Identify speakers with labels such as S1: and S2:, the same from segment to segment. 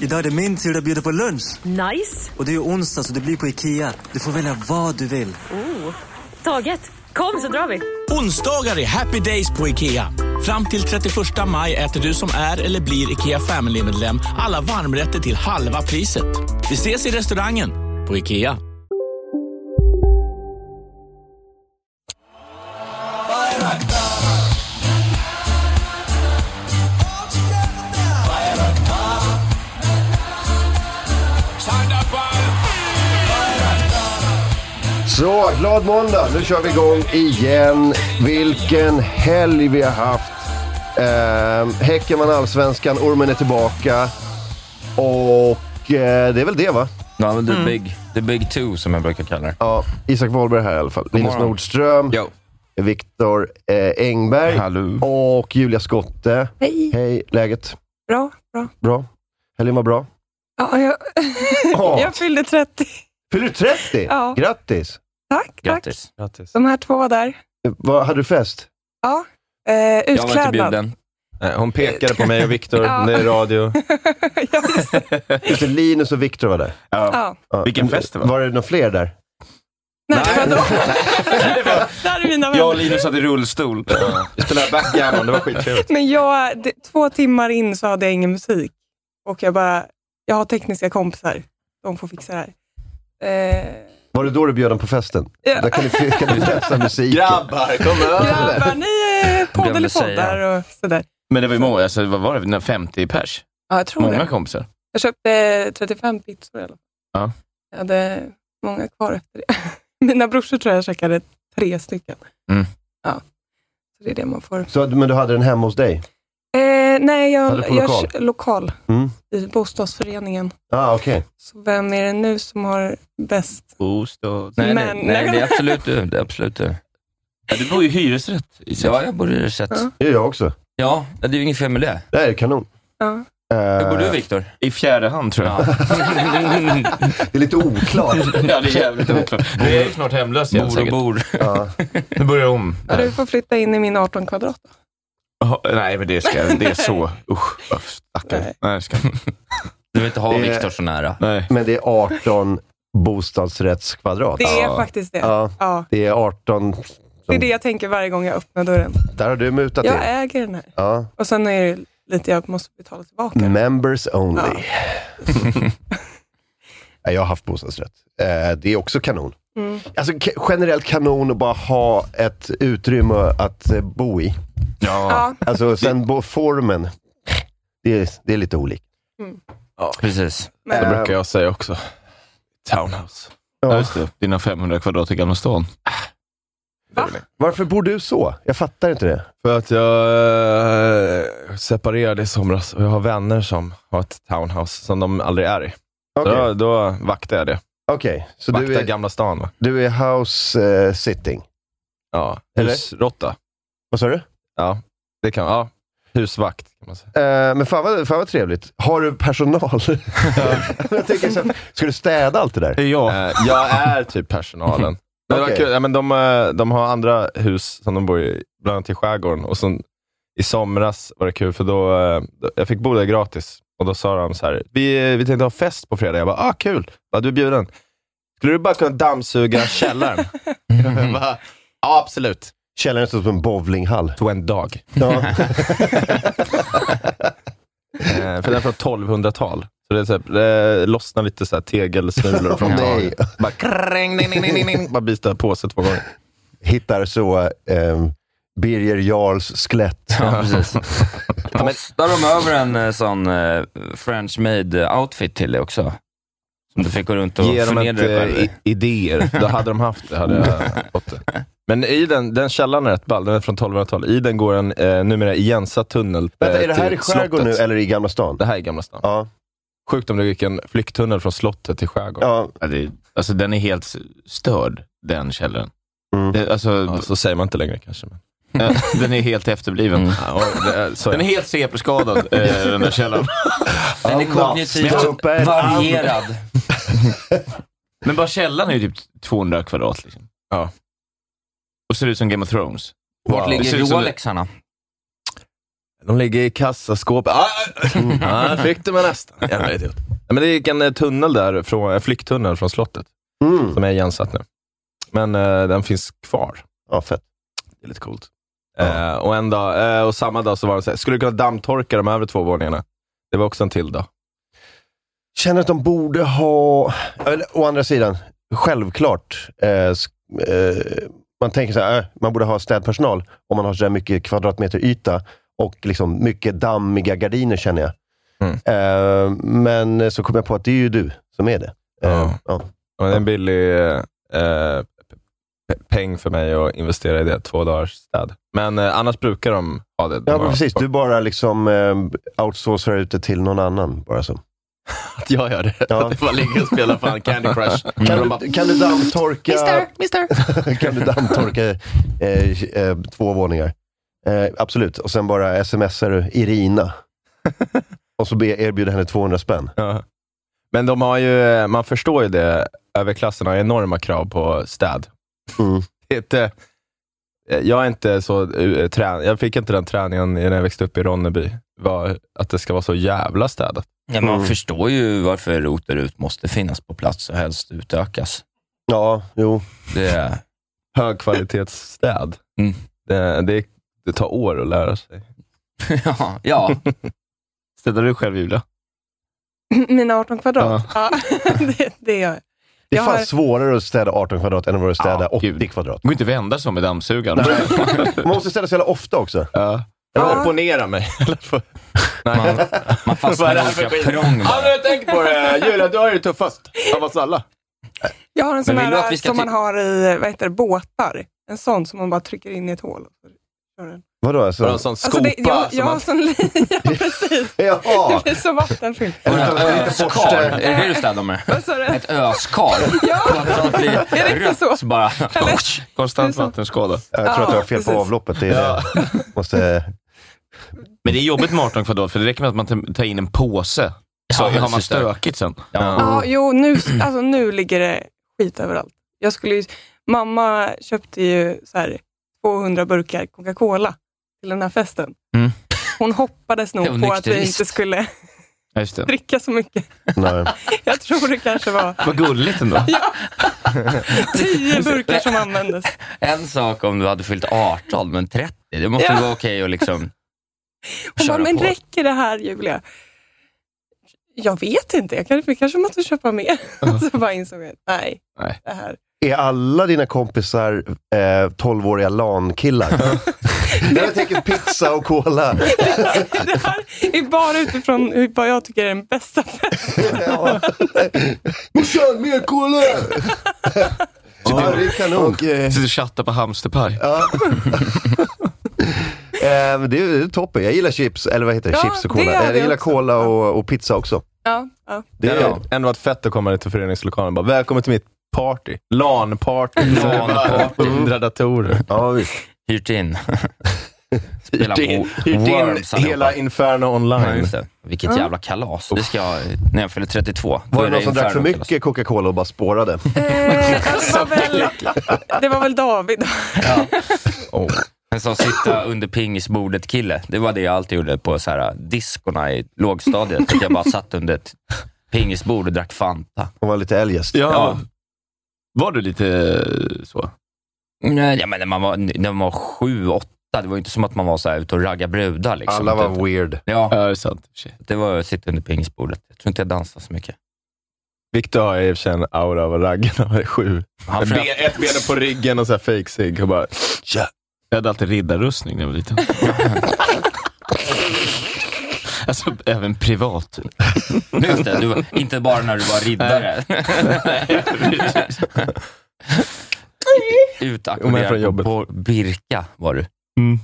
S1: Idag är det min tur att bjuda på lunch.
S2: Nice.
S1: Och det är ju onsdag så det blir på Ikea. Du får välja vad du vill.
S2: Oh. Taget. Kom så drar vi.
S3: Onsdagar är happy days på IKEA. Fram till 31 maj äter du som är eller blir IKEA Family-medlem alla varmrätter till halva priset. Vi ses i restaurangen på IKEA.
S4: Så, glad måndag! Nu kör vi igång igen. Vilken helg vi har haft. Eh, häcken vann allsvenskan, ormen är tillbaka. Och eh, det är väl det va?
S5: Ja, men the,
S6: Mm.
S5: big, the big two som jag brukar kalla det.
S4: Ja, Isak Wahlberg här i alla fall. Linus
S5: morgon.
S4: Nordström,
S5: Yo.
S4: Viktor eh, Engberg
S5: Hallå.
S4: och Julia Skotte.
S6: Hej.
S4: Hej, läget?
S6: Bra, bra.
S4: Bra? Helgen var bra?
S6: Ja, jag,
S4: Ja.
S6: jag fyllde 30.
S4: Fyller du 30?
S6: Ja.
S4: Grattis!
S6: Tack, tack.
S5: Grattis.
S7: Grattis.
S6: De här två där.
S4: Eh, Vad, hade du fest?
S6: Eh,
S5: Jag var inte
S6: utklädnad.
S5: bjuden.
S7: Nej, Eh, Hon pekade på mig och Viktor,
S6: Ja.
S7: det är radio.
S6: ja, visst.
S4: Just det, Linus och Viktor var där.
S6: ja.
S4: Ja.
S7: Vilken fest det var.
S4: Var det några fler där?
S6: Nej, vadå? där är mina
S7: Jag och
S6: vänner.
S7: Linus hade rullstol. Vi spelade backgammon, det var skittrevligt.
S6: Men jag, det, två timmar in så hade jag ingen musik. Och jag bara, jag har tekniska kompisar. De får fixa det här. Eh,
S4: Var det då du bjöd dem på festen?
S6: Ja.
S4: Där kan du, kan du läsa musiken.
S7: Grabbar, kom över!
S6: grabbar, ni eh, podd
S5: Glömde
S6: eller
S5: säga.
S6: poddar och sådär.
S5: Men det var ju många, alltså, vad var det, 50 pers?
S6: Ja, jag tror
S5: Många
S6: det.
S5: kompisar.
S6: Jag köpte 35 pizzor i alla fall.
S5: Ja.
S6: Jag hade många kvar efter det. Mina brorsor tror jag käkade tre stycken.
S5: Mm.
S6: Ja. Så det är det man får.
S4: Så, att- men du hade den hemma hos dig?
S6: Eh, nej, jag,
S4: Hade du på
S6: jag
S4: lokal?
S6: kö- lokal
S4: Mm.
S6: i bostadsföreningen.
S4: Ah, okej.
S6: Så vem är det nu som har bäst?
S7: Bostad.
S5: Nej,
S6: Men-
S5: nej, nej, det är absolut du. Det är absolut du.
S8: Ja, du bor ju i hyresrätt.
S5: Ja, jag bor i hyresrätt.
S6: Ja.
S4: Det gör jag också.
S5: Ja, det är ju inget fel med det.
S4: Det här är kanon.
S6: Ja.
S4: Eh,
S5: Hur bor du, Viktor?
S7: I fjärde hand tror jag.
S5: Ja.
S4: det är lite oklart.
S7: Ja, det är jävligt oklart. Du är ju snart hemlös igen
S5: bor och
S7: säkert.
S5: bor.
S4: ja.
S7: Nu börjar jag om.
S6: Ja, du får flytta in i min 18 kvadrat. då.
S7: Jaha, Nej, men det ska jag Det är så. Usch, vad stackare. Nej, det ska jag inte.
S5: Du vill inte ha
S4: Det-
S5: Viktor så nära.
S7: Nej.
S4: Men det är 18 bostadsrättskvadrat.
S6: Det är
S7: Ja.
S6: faktiskt det. Ja.
S4: Ja, det är 18.
S6: Det är det jag tänker varje gång jag öppnar dörren.
S4: Där har du mutat
S6: Jag
S4: in.
S6: äger den här.
S4: Ja.
S6: Och sen är det lite jag måste betala tillbaka.
S4: Members only.
S6: Ja.
S4: Nej, jag har haft bostadsrätt. Eh, det är också kanon.
S6: Mm.
S4: Alltså ka- generellt kanon att bara ha ett utrymme att eh, bo i.
S6: Ja.
S4: Alltså sen bo- formen, det är, det är lite olikt.
S5: Precis.
S7: Det
S6: Mm. Men,
S7: brukar jag säga också. Townhouse. Ja,
S4: Ja.
S7: just det. Dina 500 kvadrat i Gamla stan.
S4: Varför bor du så? Jag fattar inte det.
S7: För att jag eh, separerade i somras och jag har vänner som har ett townhouse som de aldrig är i.
S4: Okej,
S7: Så då, då vaktar jag det.
S4: Okej, så
S7: Vaktar
S4: du är,
S7: Gamla stan va?
S4: du är house eh, sitting?
S7: Ja.
S4: Eller?
S7: Husråtta.
S4: Vad sa du?
S7: Ja, det kan ja. Husvakt kan man säga.
S4: Eh, men fan vad, fan vad trevligt. Har du personal? jag tänker så här, ska du städa allt det där?
S7: Jag, Eh, jag är typ personalen. Det var
S4: Okej.
S7: kul. Ja, men de, eh, de har andra hus som de bor i, bland annat i skärgården. Och sen, I somras var det kul, för då, eh, jag fick bo där gratis. Och Då sa de så här, vi, vi tänkte ha fest på fredag. Jag bara, ah, kul. Bara, du är bjuden. Skulle du bara kunna dammsuga källaren? Jag bara, ja, absolut.
S4: Mm. Källaren ser ut som en bowlinghall.
S7: Tog en dag.
S4: Ja.
S7: Eh, för den är från 1200-tal. Så det är så här, eh, lossnar lite så här tegelsmulor från
S4: Åh,
S7: taket.
S4: nej.
S7: Bara, kring, ding, ding, ding, ding. bara byta påse två gånger.
S4: Hittar så ehm, Birger Jarls skelett.
S5: Ja, precis. Postar de över en eh, sån eh, French made eh, outfit till dig också? Som du fick gå runt och
S7: Ge dem
S5: förnedra
S7: inte
S4: eh,
S5: dig själv i.
S7: i- idéer. Då hade de haft det, hade jag fått det. Men i den, den källan är rätt ball, den är från 1200-talet. I den går en eh, numera igensatt tunnel
S4: Vänta,
S7: eh,
S4: är det här
S7: till
S4: i skärgården nu
S7: slottet.
S4: eller i Gamla stan?
S7: Det här är Gamla stan.
S4: Ja.
S7: Sjukt om det gick en flykttunnel från slottet till skärgården.
S4: Ja.
S9: Ja, det, alltså den är helt störd, den källaren.
S4: Mm.
S9: Det, alltså,
S7: Ja, så säger man inte längre kanske. Men. Mm.
S9: eh, den är helt efterbliven.
S7: Ja, och det är, så är
S9: Den är
S7: det.
S9: helt CP-skadad, eh, den där källaren.
S5: Den är kognitivt
S4: slå upp en
S5: varierad.
S9: Men bara källaren är ju typ 200 kvadrat. Liksom.
S7: Ja.
S9: Och ser ut som Game of Thrones.
S5: Vart
S9: Det
S5: ligger
S9: ser ut som det-
S5: Rolexarna?
S7: De ligger i kassaskåpet. Ah!
S9: Mm.
S7: Ah, fick du mig nästan. Jävla idiot. Nej, men det gick en eh, tunnel där, från, en flykttunnel från slottet,
S4: Mm.
S7: som är igensatt nu. Men eh, den finns kvar.
S4: Ja, fett.
S7: Det är lite coolt. Eh, och, en dag, eh, och samma dag så var det så här, skulle du kunna dammtorka de övre två våningarna? Det var också en till dag.
S4: Känner att de borde ha... Eller, å andra sidan, självklart. Eh, sk- eh, man tänker så här, äh, man borde ha städpersonal om man har så där mycket kvadratmeter yta och liksom mycket dammiga gardiner, känner jag.
S7: Mm.
S4: Eh, men så kom jag på att det är ju du som är det. Eh,
S7: Ja.
S4: ja.
S7: Det var en billig eh, eh, pe- peng för mig att investera i det, två dagars städ. Men eh, annars brukar de ha det. De
S4: Ja,
S7: har-
S4: men precis. Du bara liksom eh, outsourcar ut det till någon annan. Bara så.
S7: Att jag gör det.
S4: Ja.
S7: Att jag bara ligger och spelar fan Candy Crush.
S4: Kan, du, kan du dammtorka... Mister, mister. kan du dammtorka eh, eh, två våningar? Eh, absolut. Och sen bara smsar du Irina. Och så be, erbjuder henne 200 spänn.
S7: Ja. Men de har ju, man förstår ju det, överklassen har enorma krav på städ.
S4: Mm.
S7: Det är inte, jag är inte så eh, trän, jag fick inte den träningen när jag växte upp i Ronneby, var att det ska vara så jävla städat.
S5: Ja, man
S4: Mm.
S5: förstår ju varför roter ut måste finnas på plats och helst utökas.
S4: Ja, jo.
S5: Det är...
S7: Högkvalitetsstäd.
S5: Mm.
S7: Det, det, det tar år att lära sig.
S5: ja, ja.
S9: Städar du själv, Julia?
S5: Mm.
S6: Mina 18 kvadrat? Ja, det, det gör jag.
S4: Det är
S6: Jag
S4: fan
S6: har-
S4: svårare att städa 18 kvadrat än att städa
S9: Ja,
S4: 80
S9: gud.
S4: kvadrat.
S9: går inte att vända sig om med dammsugaren.
S4: Man måste städa så jävla ofta också.
S7: Ja. Jag opponerar mig.
S5: Man, man
S7: Vad är
S5: fastnar
S7: det
S5: i
S7: här för
S5: olika
S7: skit?
S5: prång
S7: Ja, men
S5: bara.
S7: jag tänker på det. Julia, du har ju det tuffast av oss alla.
S6: Jag har en sån
S5: Men vill du att
S6: här
S5: vi ska
S6: som
S5: till-
S6: man har i vad heter det, båtar. En sån som man bara trycker in i ett hål. Och så kör den.
S4: Vadå?
S7: Du har
S4: Alltså?
S7: en sån skopa.
S6: Alltså det, jag,
S7: som
S6: jag har
S7: man-
S6: en sån liten, ja precis.
S4: Jaha!
S6: Det blir så vattenfyllt.
S4: Är det inte- är det inte
S5: Öskar,
S4: borste?
S5: är det det du städar med?
S6: Vad sa du?
S5: Ett öskar?
S6: Ja,
S5: Så att det
S6: Är
S5: blir
S6: det inte så?
S5: rött bara.
S9: Konstant
S6: Det är så.
S9: vattenskada.
S4: Jag tror att jag har
S6: Ja,
S4: fel på
S6: precis.
S4: avloppet. Det är, måste,
S9: Men det är jobbigt med 18 kvadrat, för det räcker med att man tar- tar in en påse. Så
S5: Ja,
S9: har man
S5: precis.
S9: stökigt sen.
S5: Ja.
S6: ja jo nu, alltså, nu ligger det skit överallt. Jag skulle ju, mamma köpte ju så här 200 burkar Coca-Cola till den här festen.
S5: Mm.
S6: Hon hoppades
S5: Det var
S6: nog på att vi
S5: nykterist.
S6: inte skulle
S9: Ja, just det.
S6: dricka så mycket.
S4: nej.
S6: Jag tror det kanske var
S9: Vad gulligt ändå.
S6: tio burkar som användes.
S5: En sak om du hade fyllt 18, men 30, det måste
S6: Ja.
S5: vara okej att liksom
S6: Hon
S5: köra
S6: bara, men
S5: på.
S6: räcker det här Julia? Jag vet inte, jag kanske, vi kanske måste köpa mer. Så bara insåg jag, nej,
S9: Nej.
S6: det här.
S4: Är alla dina kompisar eh, 12-åriga LAN-killar? Jag tänker pizza och cola.
S6: Det här är bara utifrån hur- vad jag tycker är den bästa festen.
S4: Ja. Morsan, mer cola! Ja, det är kanon.
S9: Sitter och chattar på hamsterpaj.
S4: eh, Ja. Eh, men det är det är toppen. Jag gillar chips, eller vad heter det?
S6: Ja,
S4: chips och
S6: det
S4: cola.
S6: hade
S4: jag
S6: jag
S4: gillar
S6: också.
S4: cola och, och pizza också.
S6: Ja, ja.
S4: Det är,
S7: Ja. Ändå varit fett att komma till föreningslokalen och bara, välkommen till mitt party. LAN-party.
S5: LAN-party.
S7: Hundra datorer.
S4: ja, visst.
S5: hyrt in. Spela
S7: Hyrt in,
S5: Wo-
S7: hyrt in
S5: Worms allihopa.
S7: hela Inferno
S5: Ja,
S7: online.
S5: just det. Vilket jävla kalas. Det ska jag, när jag fyller 32. då
S4: Var
S5: är
S4: det någon som drack för
S5: inferno-kalas.
S4: mycket Coca-Cola och bara spårade?
S6: Eh, ja, det, var väl, det var väl David.
S7: Oh.
S5: En sån sitta under pingisbordet-kille. Det var det jag alltid gjorde på så här, uh, diskorna i lågstadiet. Att jag bara satt under ett pingisbord och drack Fanta.
S4: Hon var lite eljest.
S9: Ja.
S5: Ja.
S9: Var du lite eh, så?
S5: Nej, ja, men när, man var, när man var sju, åtta, det var ju inte som att man var så här, ute och raggade brudar. Liksom.
S4: Alla
S5: Det-
S4: var weird.
S5: Ja,
S9: Ja, det är sant. i och för sig.
S5: det var att sitta under pingisbordet. Jag tror inte jag dansade så mycket.
S7: Victor har i och för sig en aura av raggen när han är sju.
S5: Han
S7: Ett ben- Ett ben på ryggen och så här fake sig och bara,
S9: Jag hade alltid riddarrustning när jag var liten. alltså, även privat.
S5: Just det, du, var- inte bara när du var riddare.
S7: Om jag är från
S5: Utackorderad
S7: jobbet.
S5: på Birka var du.
S7: Mm.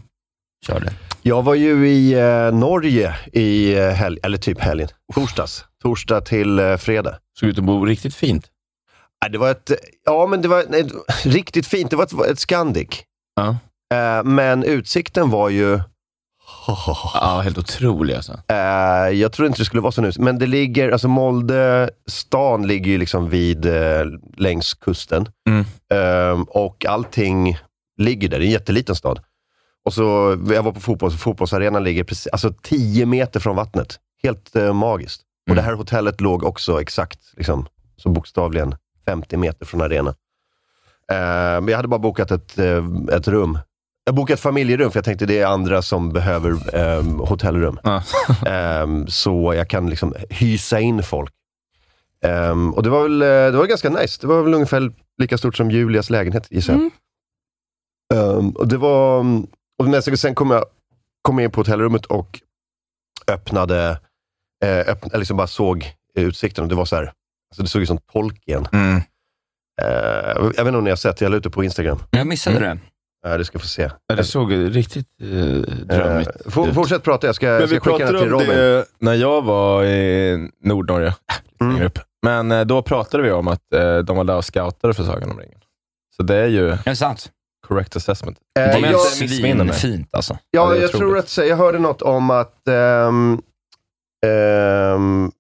S5: Körde.
S4: Jag var ju i eh, Norge i eh, helg, eller typ helgen, torsdags. Torsdag till eh, fredag.
S9: Såg ut att bo riktigt fint.
S4: Nej, det var ett, ja men det var nej, riktigt fint. Det var ett, ett Scandic.
S9: Ja.
S4: Eh, men utsikten var ju...
S9: Ja, helt otrolig alltså.
S4: Eh, jag tror inte det skulle vara så nu. Men det ligger, alltså Molde stan ligger ju liksom vid, eh, längs kusten.
S9: Mm.
S4: Eh, och allting ligger där. Det är en jätteliten stad. Och så, jag var på fotboll, så fotbollsarenan ligger precis, alltså 10 meter från vattnet. Helt eh, magiskt. Och
S9: Mm.
S4: det här hotellet låg också exakt, liksom, så bokstavligen 50 meter från arenan. Eh, men jag hade bara bokat ett, eh, ett rum. Jag bokade ett familjerum, för jag tänkte det är andra som behöver eh, hotellrum.
S9: Ja.
S4: Ehm, så jag kan liksom hysa in folk. Ehm, och det var väl eh, det var ganska nice. Det var väl ungefär lika stort som Julias lägenhet, gissar jag.
S10: Mm.
S4: Ehm, och det var... Och men sen- sen kom jag kom in på hotellrummet och öppnade, eh, öppn, eller liksom bara såg utsikten. Och det var så här, alltså det såg ut som Tolkien.
S9: Mm.
S4: Eh, jag vet inte om ni har sett, jag la ut det på Instagram.
S5: Jag missade det.
S4: Eh, det ska få se.
S9: Ja, Det såg riktigt eh, drömmigt
S4: Eh, for,
S9: ut.
S4: fortsätt prata, jag ska, jag Eh, ska skicka den till Robin.
S7: när jag var i Nordnorge.
S4: Mm.
S7: längre upp. Men eh, då pratade vi om att eh, de var där och scoutade för Sagan om ringen. Så det är ju
S5: Är det sant?
S7: correct assessment.
S4: Eh,
S5: Det
S7: Om
S5: är
S7: jag
S5: ju
S4: jag-
S7: inte missminner mig.
S5: svinfint alltså.
S7: Ja,
S4: Ja,
S7: det är
S4: jag tror
S7: otroligt.
S4: att, jag hörde något om att, ehm, ehm,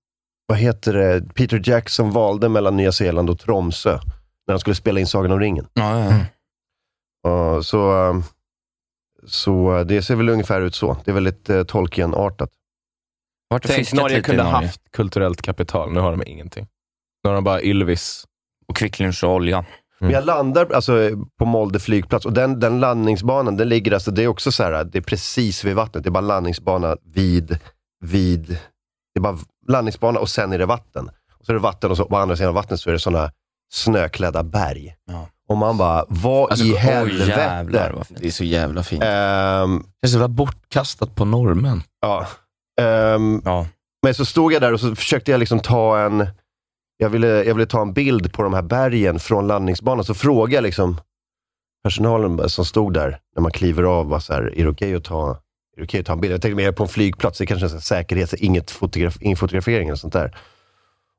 S4: vad heter det, Peter Jackson valde mellan Nya Zeeland och Tromsö när han skulle spela in Sagan om ringen.
S5: Ja, ja, ja.
S4: Ja, så, ehm, så eh, det ser väl ungefär ut så. Det är väldigt eh, Tolkien-artat.
S5: Vart
S7: Tänk, Norge kunde haft kulturellt kapital. Nu har de ingenting. Nu har de bara Ylvis.
S5: Och kvicklunch och olja.
S4: Men jag landar alltså, på Molde flygplats och den, den landningsbanan, den ligger alltså, det är också så här, det är precis vid vattnet. Det är bara landningsbana vid, vid, det är bara landningsbana och sen är det vatten. Och så är det vatten och så på andra sidan vattnet så är det sådana snöklädda berg.
S5: Ja.
S4: Och man bara, vad
S9: Alltså,
S4: i
S9: oj,
S4: helvete?
S5: Jävlar vad fint.
S9: Det är så jävla fint. Det
S4: Ehm,
S9: är så jävla bortkastat på normen.
S4: ja. Ehm,
S5: Ja.
S4: Men så stod jag där och så försökte jag liksom ta en... Jag ville, jag ville ta en bild på de här bergen från landningsbanan, så frågade jag liksom personalen som stod där, när man kliver av, bara så här, är det okej att ta är det okej att ta en bild? Jag tänkte, men jag är på en flygplats, det kanske är så här säkerhet, så inget fotograf, ingen fotografering eller sånt där.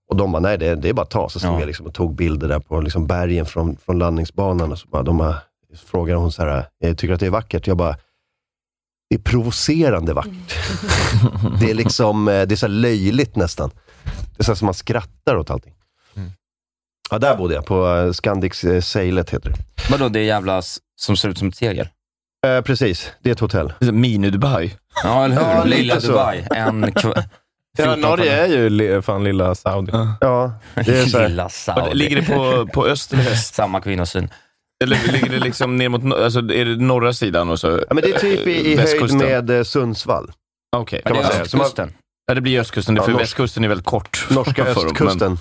S4: Och de bara, nej det, det är bara att ta. Så stod
S5: Ja.
S4: jag liksom och tog bilder där på liksom bergen från, från landningsbanan. Och så bara, de bara, så frågade hon så här, jag tycker att det är vackert? Jag bara, det är provocerande vackert. det är liksom, eh, det är så här löjligt nästan. Det är så här som man skrattar åt allting.
S5: Mm.
S4: Ja, där bodde jag. På eh, Scandic eh, Sailet heter det.
S5: Vadå, det är jävla s- som ser ut som ett tegel?
S4: Eh, precis, det är ett hotell.
S9: Mini-Dubai.
S5: Ja, eller hur?
S4: Ja, lite
S5: Lilla
S4: så.
S5: Dubai. En kv-
S7: Ja,
S5: 14
S7: Norge är ju li- fan lilla Saudi.
S4: Ja, det är så här.
S5: Lilla Saudi.
S9: Ligger det på, på öst eller väst?
S5: Samma kvinnosyn.
S9: Eller ligger det liksom ner mot no- alltså, är det norra sidan? Och så,
S4: Ja, men det är typ i, i höjd
S9: Eh, Västkusten.
S4: med eh, Sundsvall.
S9: Okej.
S5: Ja, det
S4: man
S5: är
S4: säga.
S5: östkusten.
S9: Ja, det blir östkusten. Det är
S4: Ja,
S9: för
S4: norsk-
S9: västkusten är väldigt kort.
S4: Norska
S9: för dem,
S4: östkusten.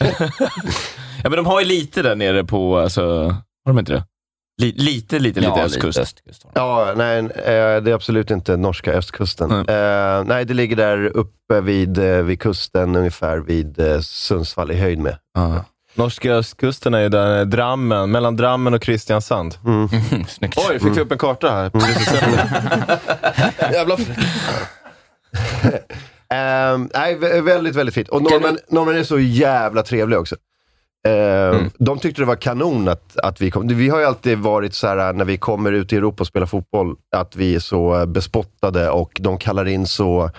S9: Men, ja, men de har ju lite där nere på, alltså, har de inte det? Li, lite, lite, lite
S5: Ja,
S9: östkust.
S5: lite östkust.
S4: Ja, nej, eh, det är absolut inte norska östkusten.
S9: Nej.
S4: Eh, nej, det ligger där uppe vid, eh, vid kusten, ungefär vid eh, Sundsvall i höjd med. Mm.
S9: Ja.
S7: Norska östkusten är ju där eh, Drammen, mellan Drammen och Kristiansand.
S4: Mm.
S5: Mm, Snyggt.
S7: Oj, fick du upp en karta här? Jävla
S4: Eh, nej, vä- väldigt, väldigt fint. Och norrmän, norrmän är så jävla trevliga också. Eh, De tyckte det var kanon att, att vi kom. Vi har ju alltid varit så här när vi kommer ut i Europa och spelar fotboll, att vi är så eh, bespottade och de kallar in så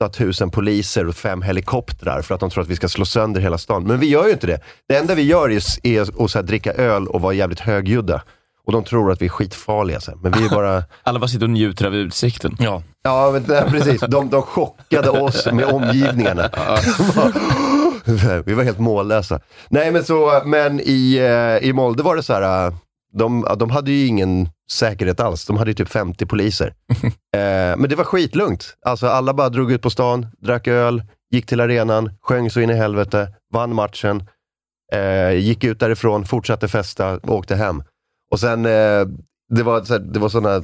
S4: 8000 poliser och fem helikoptrar för att de tror att vi ska slå sönder hela stan. Men vi gör ju inte det. Det enda vi gör är, s- är att så här, dricka öl och vara jävligt högljudda. Och de tror att vi är skitfarliga. Så här. Men vi är bara...
S9: Alla bara sitter och njuter av utsikten.
S5: Ja.
S4: Ja, men, nej, precis. De, de chockade oss med omgivningarna. De bara, Vi var helt mållösa. Nej, men, så, men i, eh, i Molde var det så här, eh, de, de hade ju ingen säkerhet alls. De hade ju typ 50 poliser. Eh, Men det var skitlugnt. Alltså, alla bara drog ut på stan, drack öl, gick till arenan, sjöng så in i helvete, vann matchen, eh, gick ut därifrån, fortsatte festa och åkte hem. Och sen, eh, det var, så här- det var sådana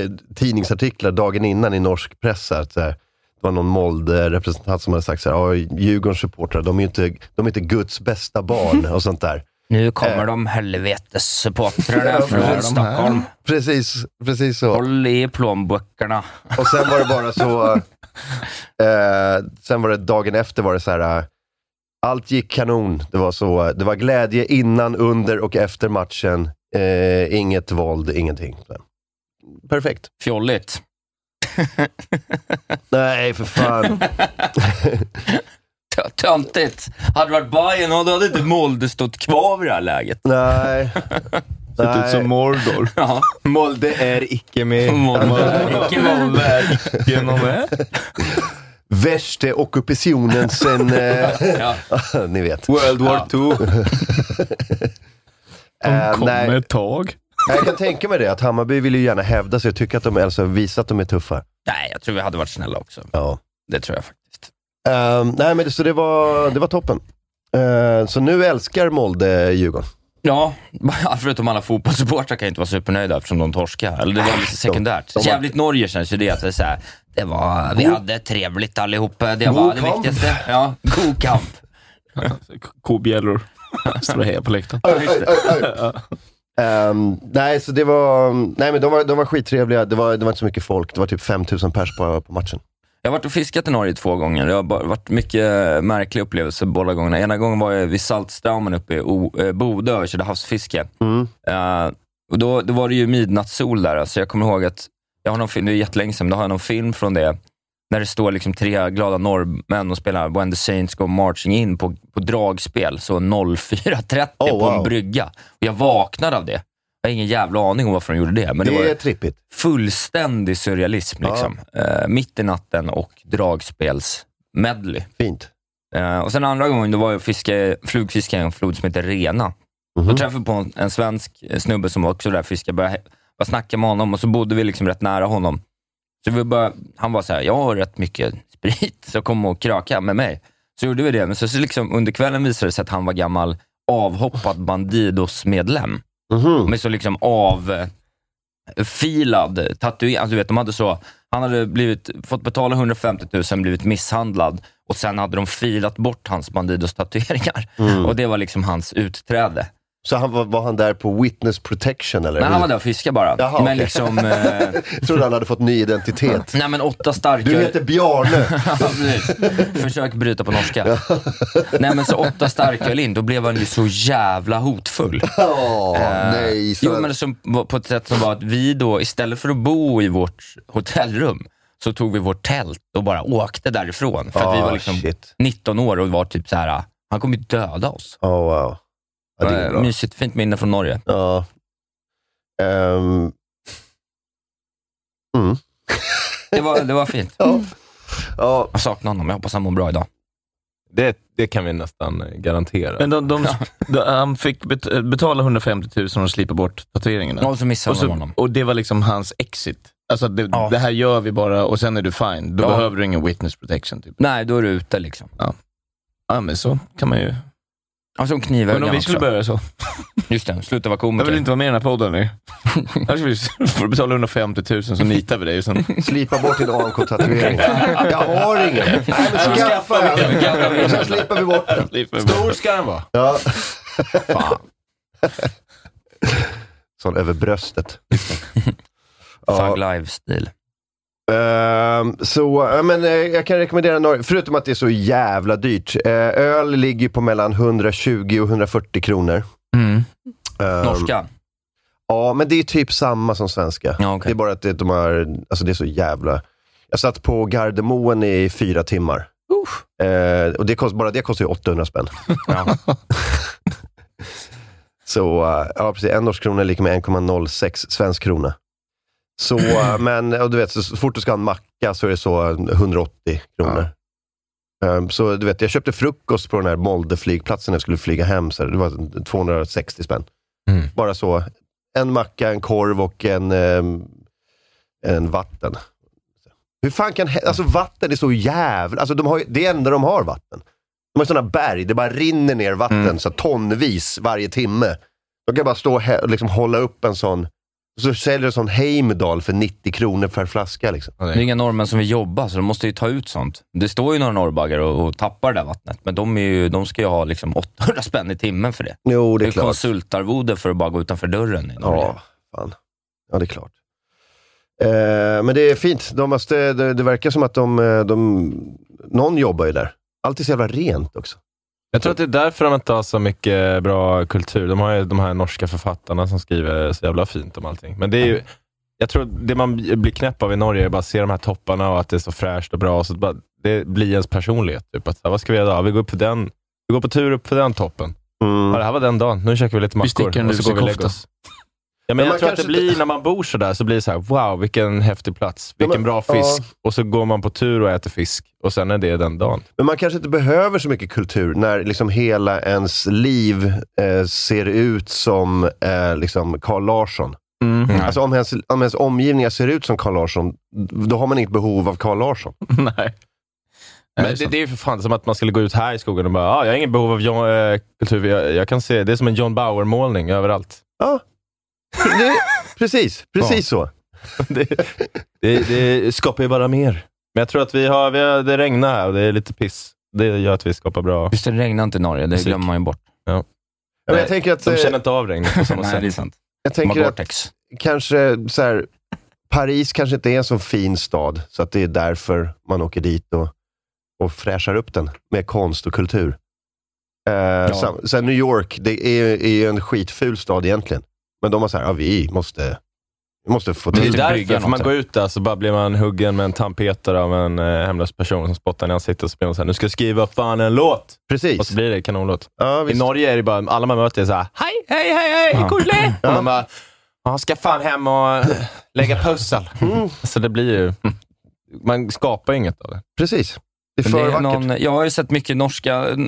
S4: eh, tidningsartiklar dagen innan i norsk press. Här, att så här, det var någon Molde-representant som hade sagt så här, "Ja, Djurgårdens supportrar, de är ju inte, de är inte Guds bästa barn och sånt där.
S5: Nu kommer de helvetessupportrarna
S4: Ja, de här.
S5: från Stockholm.
S4: Precis, precis så.
S5: Håll i plånböckerna.
S4: Och sen var det bara så... Eh, sen var det dagen efter var det så här... eh, Allt gick kanon. Det var, så, det var glädje innan, under och efter matchen. Eh, inget våld, ingenting. Perfekt.
S5: Fjolligt.
S4: Nej, för fan.
S5: T- Töntigt. Hade det varit Bayern och då hade inte Molde stått kvar i det här läget.
S4: Nej.
S7: Sett ut som
S4: Nej.
S7: Mordor.
S5: Ja.
S7: Molde är icke med.
S5: Molde är icke med.
S7: Molde är icke någon med.
S4: Värsta ockupationen sen... Eh,
S5: Ja.
S4: ni vet.
S7: World War II.
S4: Eh,
S7: De
S4: nej.
S7: kommer ett tag.
S4: Jag kan tänka mig det, att Hammarby vill ju gärna hävda sig och tycka att de alltså, visar att de är tuffa.
S5: Nej, jag tror vi hade varit snälla också.
S4: Ja.
S5: Det tror jag faktiskt.
S4: Ehm, nej, men det, så det var, det var toppen. Ehm, så nu älskar Molde Djurgården.
S5: Ja, förutom alla fotbollssupportrar kan ju inte vara supernöjda eftersom de torskade. Eller det var lite sekundärt.
S4: de var-
S5: Jävligt Norge känns ju det. Att det, är så här, det var, vi hade trevligt allihop. Det
S4: God
S5: var det
S4: kamp.
S5: viktigaste. Ja, god kamp.
S9: Kobjällor. Står och hejar på läktaren.
S4: Ehm, nej, så det var, nej, men de var, de var skittrevliga. Det var, det var inte så mycket folk. Det var typ 5000 pers på, på matchen.
S5: Jag har varit och fiskat i Norge två gånger. Det har bara varit mycket märkliga upplevelser båda gångerna. Ena gången var jag vid Saltstammen uppe i O- eh, Bodö och körde havsfiske.
S4: Mm.
S5: Eh, och då, då var det ju midnattssol där, så jag kommer ihåg att, jag har någon film, det är jättelänge sedan, men då har jag någon film från det, när det står liksom tre glada norrmän och spelar When the Saints Go Marching In på, på dragspel, så 04.30
S4: Oh,
S5: på en
S4: wow.
S5: brygga. Och jag vaknade av det. Jag har ingen jävla aning om varför de gjorde det, men det,
S4: det
S5: var
S4: är trippigt.
S5: fullständig surrealism.
S4: Ja.
S5: Liksom. Eh, mitt i natten och dragspelsmedley.
S4: Fint.
S5: Eh, och sen andra gången då var jag och fiskade, flugfiskade i en flod som heter Rena.
S4: Mhm.
S5: Då träffade jag på en, en svensk eh, snubbe som var också där och fiskade. Började, he- jag snackade med honom och så bodde vi liksom rätt nära honom. Så vi började, han var så här, jag har rätt mycket sprit, så kom och kröka med mig. Så gjorde vi det, men så, så liksom, under kvällen visade det sig att han var gammal avhoppad Bandidos-medlem
S4: Mhm.
S5: med så liksom avfilad tatuering. Alltså, du vet, de hade så, han hade blivit, fått betala 150 000, blivit misshandlad och sen hade de filat bort hans Bandidos tatueringar.
S4: Mm.
S5: Och det var liksom hans utträde.
S4: Så han, var, var han där på witness protection eller?
S5: Men han var där och fiskade bara.
S4: Jaha,
S5: men
S4: okej.
S5: liksom, eh,
S4: Jag trodde han hade fått ny identitet.
S5: nej men åtta starka...
S4: Du heter Bjarne.
S5: Ja, precis. Försök bryta på norska. nej men så åtta starka in, då blev han ju så jävla hotfull.
S4: Åh,
S5: Eh,
S4: nej. Så,
S5: Jo, men som, på ett sätt som var att vi då, istället för att bo i vårt hotellrum, så tog vi vårt tält och bara åkte därifrån. För att vi
S4: Ah,
S5: var liksom
S4: shit.
S5: 19 år och var typ så här, han kommer ju döda oss.
S4: Åh, wow. Ja, det är
S5: Eh,
S4: bra.
S5: Mysigt, fint minne från Norge.
S4: Ja. Ehm, Mm.
S5: Det var, det var fint.
S4: ja. ja.
S5: Jag saknar honom, jag hoppas han mår bra idag.
S7: Det, det kan vi nästan eh, garantera.
S9: Men de, de, de, han fick bet- eh, betala 150 000 och slipa bort tatueringarna.
S5: Och så missade
S9: Och,
S5: han
S9: så,
S5: honom.
S9: och det var liksom hans exit. Alltså det,
S5: Ja.
S9: det här gör vi bara och sen är du fine. Då
S5: Ja.
S9: behöver du ingen witness protection. Typ.
S5: Nej, då är du ute liksom.
S9: Ja, men så kan man ju.
S5: Och så en
S9: Men om
S5: knivögon
S9: vi skulle
S5: också.
S9: börja så.
S5: Just det, sluta vara
S9: Jag
S5: komiker.
S9: vill inte vara med i den här podden nu. Annars får du betala 150 000 så nitar vi dig. och Sen,
S4: Slipa bort din AMK-tatuering. Jag har ingen. Nej, men skaffa en. Sen slipper vi bort den.
S9: Stor ska den vara.
S4: Ja. Sån över bröstet.
S5: Thug live-stil.
S4: Ehm, så, ja, men, eh, jag kan rekommendera Norge, förutom att det är så jävla dyrt. Eh, öl ligger på mellan 120 och 140 kronor.
S5: Mm.
S4: Ehm,
S5: Norska.
S4: Ja, men det är typ samma som svenska.
S5: Ja, okej.
S4: Det är bara att det, de har, alltså det är så jävla... Jag satt på Gardermoen i fyra timmar. Eh, och det kost, bara det kostar ju 800 spänn.
S5: Ja.
S4: Så eh, ja, precis. En norsk krona är lika med 1,06 svensk krona. Så, eh, men och du vet, så- så fort du ska ha en macka så är det så 180 kronor. Eh, Så du vet, jag köpte frukost på den här Molde-flygplatsen när jag skulle flyga hem. Så här, det var 260 spänn.
S7: Mm.
S4: Bara så. En macka, en korv och en, ehm, en vatten. Hur fan kan... he- Alltså vatten är så jävla... Alltså, de har, ju- det är enda de har vatten. De har sådana berg, det bara rinner ner vatten så tonvis varje timme. De kan bara stå och hä- och liksom hålla upp en sån Så säljer en sån Heimdall för 90 kronor per flaska. Liksom.
S5: Det är inga norrmän som vill jobba, så de måste ju ta ut sånt. Det står ju några norrbaggar och, och tappar det där vattnet, men de, är ju, de ska ju ha liksom 800 spänn i timmen för det.
S4: Jo,
S5: Det
S4: det
S5: är
S4: är klart.
S5: konsultarvode för att bara gå utanför dörren i Norge.
S4: Ja, fan. Ja, det är klart. Eh, men det är fint. De måste, det, det verkar som att de, eh, de... Någon jobbar ju där. Allt är så jävla rent också.
S7: Jag tror att det är därför de inte har så mycket bra kultur. De har ju de här norska författarna som skriver så jävla fint om allting. Men det är ju, jag tror det man blir knäpp av i Norge är bara att se de här topparna och att det är så fräscht och bra. Så att bara, det blir ens personlighet. Typ. Att, så här, vad ska vi göra idag? Vi går, upp på den, vi går på tur upp för den toppen. Ja, det här var den dagen. Nu käkar vi lite
S9: Vi sticker
S7: mackor
S9: en
S7: och så går vi och lägger
S9: lusekofta.
S7: oss. Ja, men
S4: Men man
S7: jag tror att det
S4: kanske
S7: blir,
S4: inte-
S7: när man bor sådär, så blir det så här: wow, vilken häftig plats. Vilken
S4: men-
S7: bra fisk. Och så går man på tur och äter fisk. Och sen är det den dagen.
S4: Men man kanske inte behöver så mycket kultur när liksom hela ens liv eh, ser ut som eh, liksom Carl Larsson.
S9: Mm.
S4: Alltså om ens, om ens omgivningar ser ut som Carl Larsson, då har man inget behov av Carl Larsson.
S9: Nej.
S7: Men det, det är ju för fan som att man skulle gå ut här i skogen och bara, ah, jag har ingen behov av John, eh, kultur. Jag, jag kan se, det är som en John Bauer-målning överallt.
S4: Ja, det, precis. Precis
S7: Ja.
S4: så.
S7: det, det, det skapar ju bara mer. Men jag tror att vi har, vi har det regnar här och det är lite piss. Det gör att vi skapar bra...
S5: Just det, det regnar inte i Norge. Det
S7: Musik.
S5: glömmer man ju bort.
S4: Ja, men
S7: Nej,
S4: jag tänker att,
S7: De
S4: eh,
S7: känner inte av regnet på samma
S5: Nej,
S7: sätt.
S5: det är sant.
S4: jag
S5: De har
S4: tänker att
S5: Gore-Tex.
S4: kanske så här, Paris kanske inte är en så fin stad, så att det är därför man åker dit och, och fräschar upp den med konst och kultur. Eh, sam, sen New York, det är, är ju en skitful stad egentligen. Men de har så här, ja, vi måste, vi måste få
S7: Det är
S4: till
S5: Typ brygga
S7: därför, för man
S5: något.
S7: går ut där så bara blir man huggen med en tandpetare av en eh, hemlös person som spottar i ansiktet och så blir man såhär, nu ska jag skriva fan en låt! Och
S4: Precis.
S7: så blir det kanonlåt.
S4: Ja,
S7: I
S4: visst.
S7: Norge är det bara, alla man möter är såhär, hej, hej, hej, hej, Kulle! Och man bara, "Ja, ska fan hem och eh, lägga pussel.
S4: Mm.
S7: Så det blir ju, man skapar ju inget av det.
S4: Precis. Det är
S5: Men
S4: för
S5: det är
S4: vackert.
S5: någon, jag har ju sett mycket norska, eh,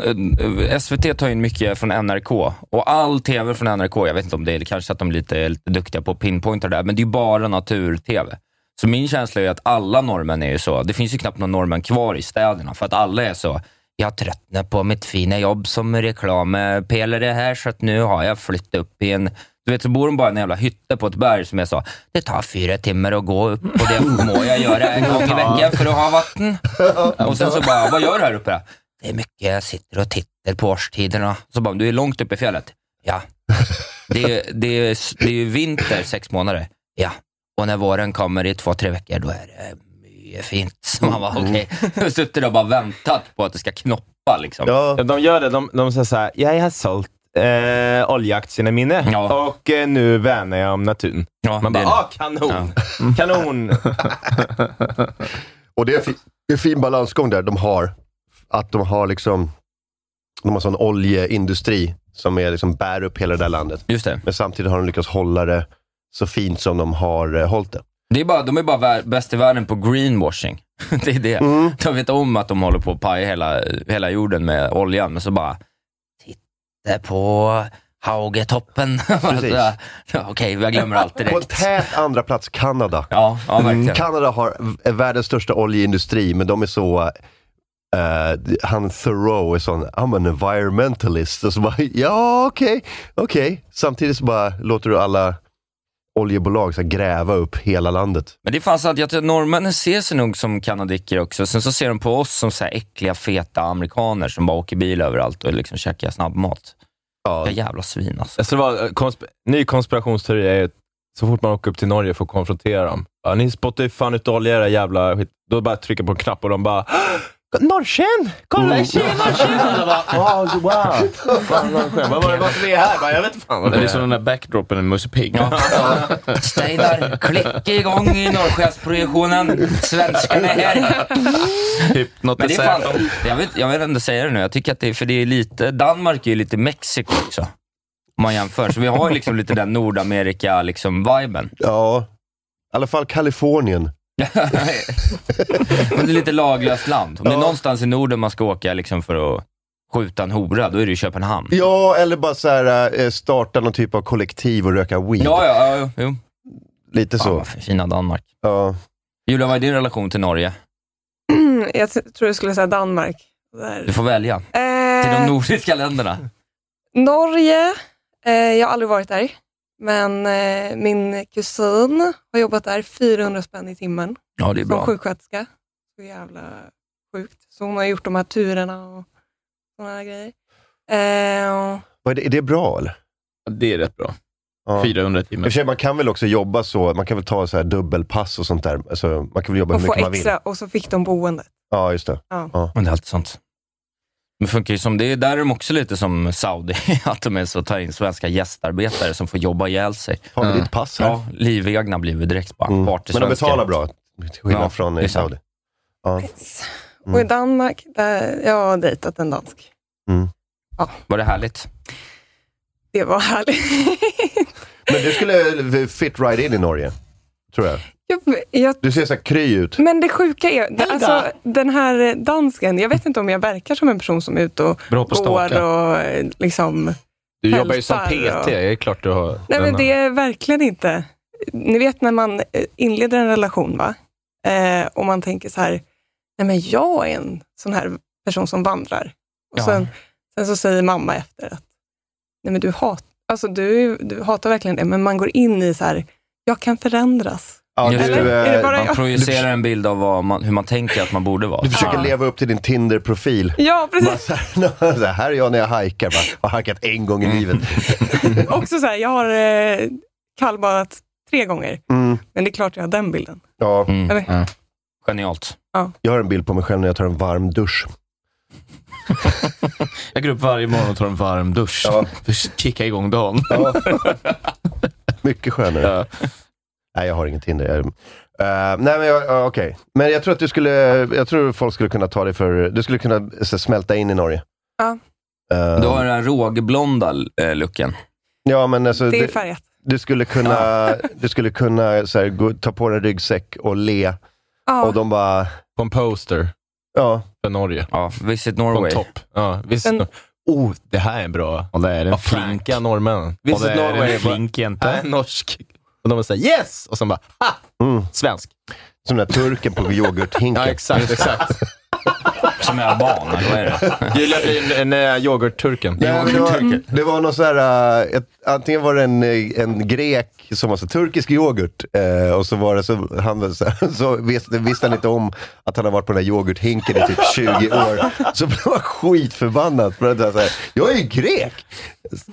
S5: eh, SVT tar in mycket från NRK och all TV från NRK, jag vet inte om det är det kanske att de är lite, är lite duktiga på att pinpointa det där, men det är ju bara natur-TV. Så min känsla är att alla norrmän är ju så. Det finns ju knappt någon norrmän kvar i städerna, för att alla är så. Jag tröttnar på mitt fina jobb som reklampelare här, så att nu har jag flyttat upp i en... Du vet, så bor de bara i en jävla hytte på ett berg som är så. Det tar fyra timmar att gå upp och det må jag göra en gång i veckan för att ha vatten. Och sen så bara, vad gör du här uppe? Det är mycket jag sitter och tittar på årstiderna. Så bara, du är långt uppe i fjället. Ja. Det är, det är, det är ju vinter sex månader. Ja. Och när våren kommer i två, tre veckor, då är det mycket fint. Så man bara, okej. Okay. Suttit där och bara väntat på att det ska knoppa liksom.
S4: Ja,
S7: Ja, De gör det, de, de säger såhär, jag har sålt eh, oljeaktierna mina
S5: Ja.
S7: och eh, nu värnar jag om naturen.
S5: Ja,
S7: Man
S5: det är
S7: bara,
S5: det.
S7: ah, kanon! Kanon!
S4: och det är, fi, det är fin balansgång där de har. Att de har liksom, de har sån oljeindustri som är liksom bär upp hela det där landet.
S5: Just det.
S4: Men samtidigt har de lyckats hålla det så fint som de har eh, hållit det.
S5: det är bara, de är bara vär, bäst i världen på greenwashing. det är det.
S4: Mm.
S5: De vet om att de håller på att paja hela, hela jorden med oljan, men så bara, titta på Haugetoppen.
S4: Precis.
S5: Ja, Okej, jag glömmer allt
S4: På en
S5: direkt.
S4: tät andra plats, Kanada.
S5: Ja, ja verkligen.
S4: Mm, Kanada har v- världens största oljeindustri, men de är så... eh, han Thoreau är sån, I'm an environmentalist. Och så bara, ja okej, okej. Samtidigt så bara låter du alla oljebolag så här, gräva upp hela landet.
S5: Men det fanns att jag tror att norrmännen ser sig nog som kanadiker också. Sen så ser de på oss som så här äckliga, feta amerikaner som bara åker bil överallt och liksom käkar snabbmat.
S4: Ja.
S5: Ja. Jävla svin alltså.
S7: Alltså, det var, eh, konsp- ny konspirationsteori är ju så fort man åker upp till Norge för att konfrontera dem. Ja, ni spottar ju fan ut olja era jävla skit. Då bara trycker på en knapp och de bara Norrsken! Kolla,
S5: Mm.
S7: tjena, tjena! Och de bara, "Åh, Wow! Fan, vad skönt. Vad var det vad som är här? Bara, Jag vet fan vad
S9: Det
S7: det
S9: är
S7: är.
S9: som den där backdropen i Musse Pigg.
S5: Steinar, klicka igång i norrskensproduktionen. Svenskarna är här.
S9: Typ något
S5: Men det är fan,
S9: dessert.
S5: jag, vet, jag vill ändå säga det nu, jag tycker att det är, för det är lite, Danmark är ju lite Mexiko också. Om man jämför. Så vi har ju liksom lite den Nordamerika-viben. Liksom, viben.
S4: Ja, i alla fall Kalifornien.
S5: Men det är lite laglöst land. Om det är
S4: Ja.
S5: någonstans i Norden man ska åka liksom för att skjuta en hora, då är det ju Köpenhamn.
S4: Ja, eller bara så här, eh, starta någon typ av kollektiv och röka weed.
S5: Ja, ja, ja, jo.
S4: Lite
S5: Fan,
S4: så.
S5: vad fina Danmark.
S4: Ja.
S5: Julia, vad är din relation till Norge?
S6: Jag t- tror jag skulle säga Danmark. Där.
S5: Du får välja. Till de
S6: Eh,
S5: nordiska länderna.
S6: Norge, eh, jag har aldrig varit där. Men eh, min kusin har jobbat där 400 spänn i timmen
S5: Ja, det är
S6: som
S5: bra.
S6: sjuksköterska. Så jävla sjukt. Så hon har gjort de här turerna och sådana här grejer. Eh,
S4: Vad Är det, är det bra eller?
S9: Ja, Det är rätt bra.
S4: Ja. I
S9: 400
S4: och för
S9: timmar.
S4: sig, man kan väl också jobba så, man kan väl ta så här dubbelpass och sånt där. Alltså, man kan väl jobba
S6: och
S4: hur
S6: få
S4: mycket man vill.
S6: extra, och så fick de boende.
S4: Ja, just det.
S5: Men det är alltid sånt. Det funkar ju som, det är där de också lite som Saudi, att de är så tar in svenska gästarbetare som får jobba ihjäl sig.
S4: Har vi
S9: Ja.
S4: ditt pass här?
S5: Ja, livegna blir vi direkt bara
S4: Mm.
S5: party
S4: Men de betalar bra, till skillnad
S5: Ja,
S4: från
S5: det är
S4: i
S5: sant.
S4: Saudi. Ja. Mm.
S6: Och i
S5: Mm.
S6: Danmark, där jag har dejtat en dansk.
S5: Var det härligt?
S6: Det var härligt.
S4: Men du skulle eh, fit right in i Norge, tror jag.
S6: jag, jag
S4: Du ser så här kry ut.
S7: Typ.
S6: Men det sjuka är, alltså, den här eh, dansken, jag vet inte om jag verkar som en person som är ute och
S9: Bra på att
S6: går
S9: staka.
S6: och eh, liksom...
S7: Du jobbar ju som
S6: Hälsar
S7: PT,
S6: och-
S7: det är klart du har...
S6: Nej men
S7: denna-
S6: det är verkligen inte... Ni vet när man eh, inleder en relation va? Eh, och man tänker så här, nej men jag är en sån här person som vandrar. Och
S5: Ja.
S6: sen, sen så säger mamma efter att, nej men du, hat, alltså, du, du hatar verkligen det, men man går in i så här, jag kan förändras.
S4: Ja,
S5: Just
S4: du,
S5: det.
S4: eh,
S6: Är det bara
S5: Man
S6: jag?
S5: projicerar en bild av vad man, hur man tänker att man borde vara. Ah.
S4: du försöker
S6: Ja.
S4: leva upp till din Tinder-profil.
S6: Ja, precis.
S4: Bara så här, så här, här är jag när jag hajkar. Bara, har hajkat en gång
S5: Mm.
S4: i livet.
S6: Också så här, jag har eh, kallbadat tre gånger,
S4: Mm,
S6: men det är klart jag har den bilden.
S4: ja,
S5: Mm.
S6: Eller?
S5: Ja. Genialt.
S4: jag har en bild på mig själv när jag tar en varm dusch.
S9: Jag går upp varje morgon och tar en varm dusch.
S4: Ja.
S9: För att kicka igång dagen.
S4: Ja. Mycket skönare.
S9: Ja.
S4: Nej, jag har ingen Tinder. Jag, Eh, nej, men jag, ja, okej. Men jag tror att du skulle, jag tror folk skulle kunna ta dig för, du skulle kunna så, smälta in i Norge.
S6: Ja.
S4: Eh,
S5: Du har den här rågblonda eh, looken.
S4: ja, men alltså,
S6: Det är
S4: du,
S6: färgat.
S4: du skulle kunna, du skulle kunna så här, gå, ta på dig en ryggsäck och le.
S6: Ja,
S4: Och de bara,
S7: På en poster
S4: ja,
S7: för Norge.
S5: Ja, Visit
S7: På
S5: Norway.
S7: en topp. Ja, visst.
S6: Den-
S7: Oh, det här är bra.
S9: Och det är en
S7: Vad
S9: flink.
S7: flinka norrmännen.
S9: Och det är en flink
S7: Nej,
S9: jänta.
S7: norsk. Och de säger yes! Och sen bara, ha!
S4: Mm.
S7: Svensk.
S4: som den där turken på yoghurthinken.
S7: Ja, exakt. exakt.
S5: Som är alban, eller vad är det?
S7: Julia blir en, en, en yoghurtturken.
S4: Nej, men det,
S9: Mm.
S4: var, det var någon så här, eh, ett, antingen var det en, eh, en grek som var så turkisk yoghurt eh, och så var det så, han, var så, här- så visste, visste han inte om att han har varit på den här yoghurthinken i typ 20 år. Så blev han skitförbannad. För att, det var så här, jag är ju grek!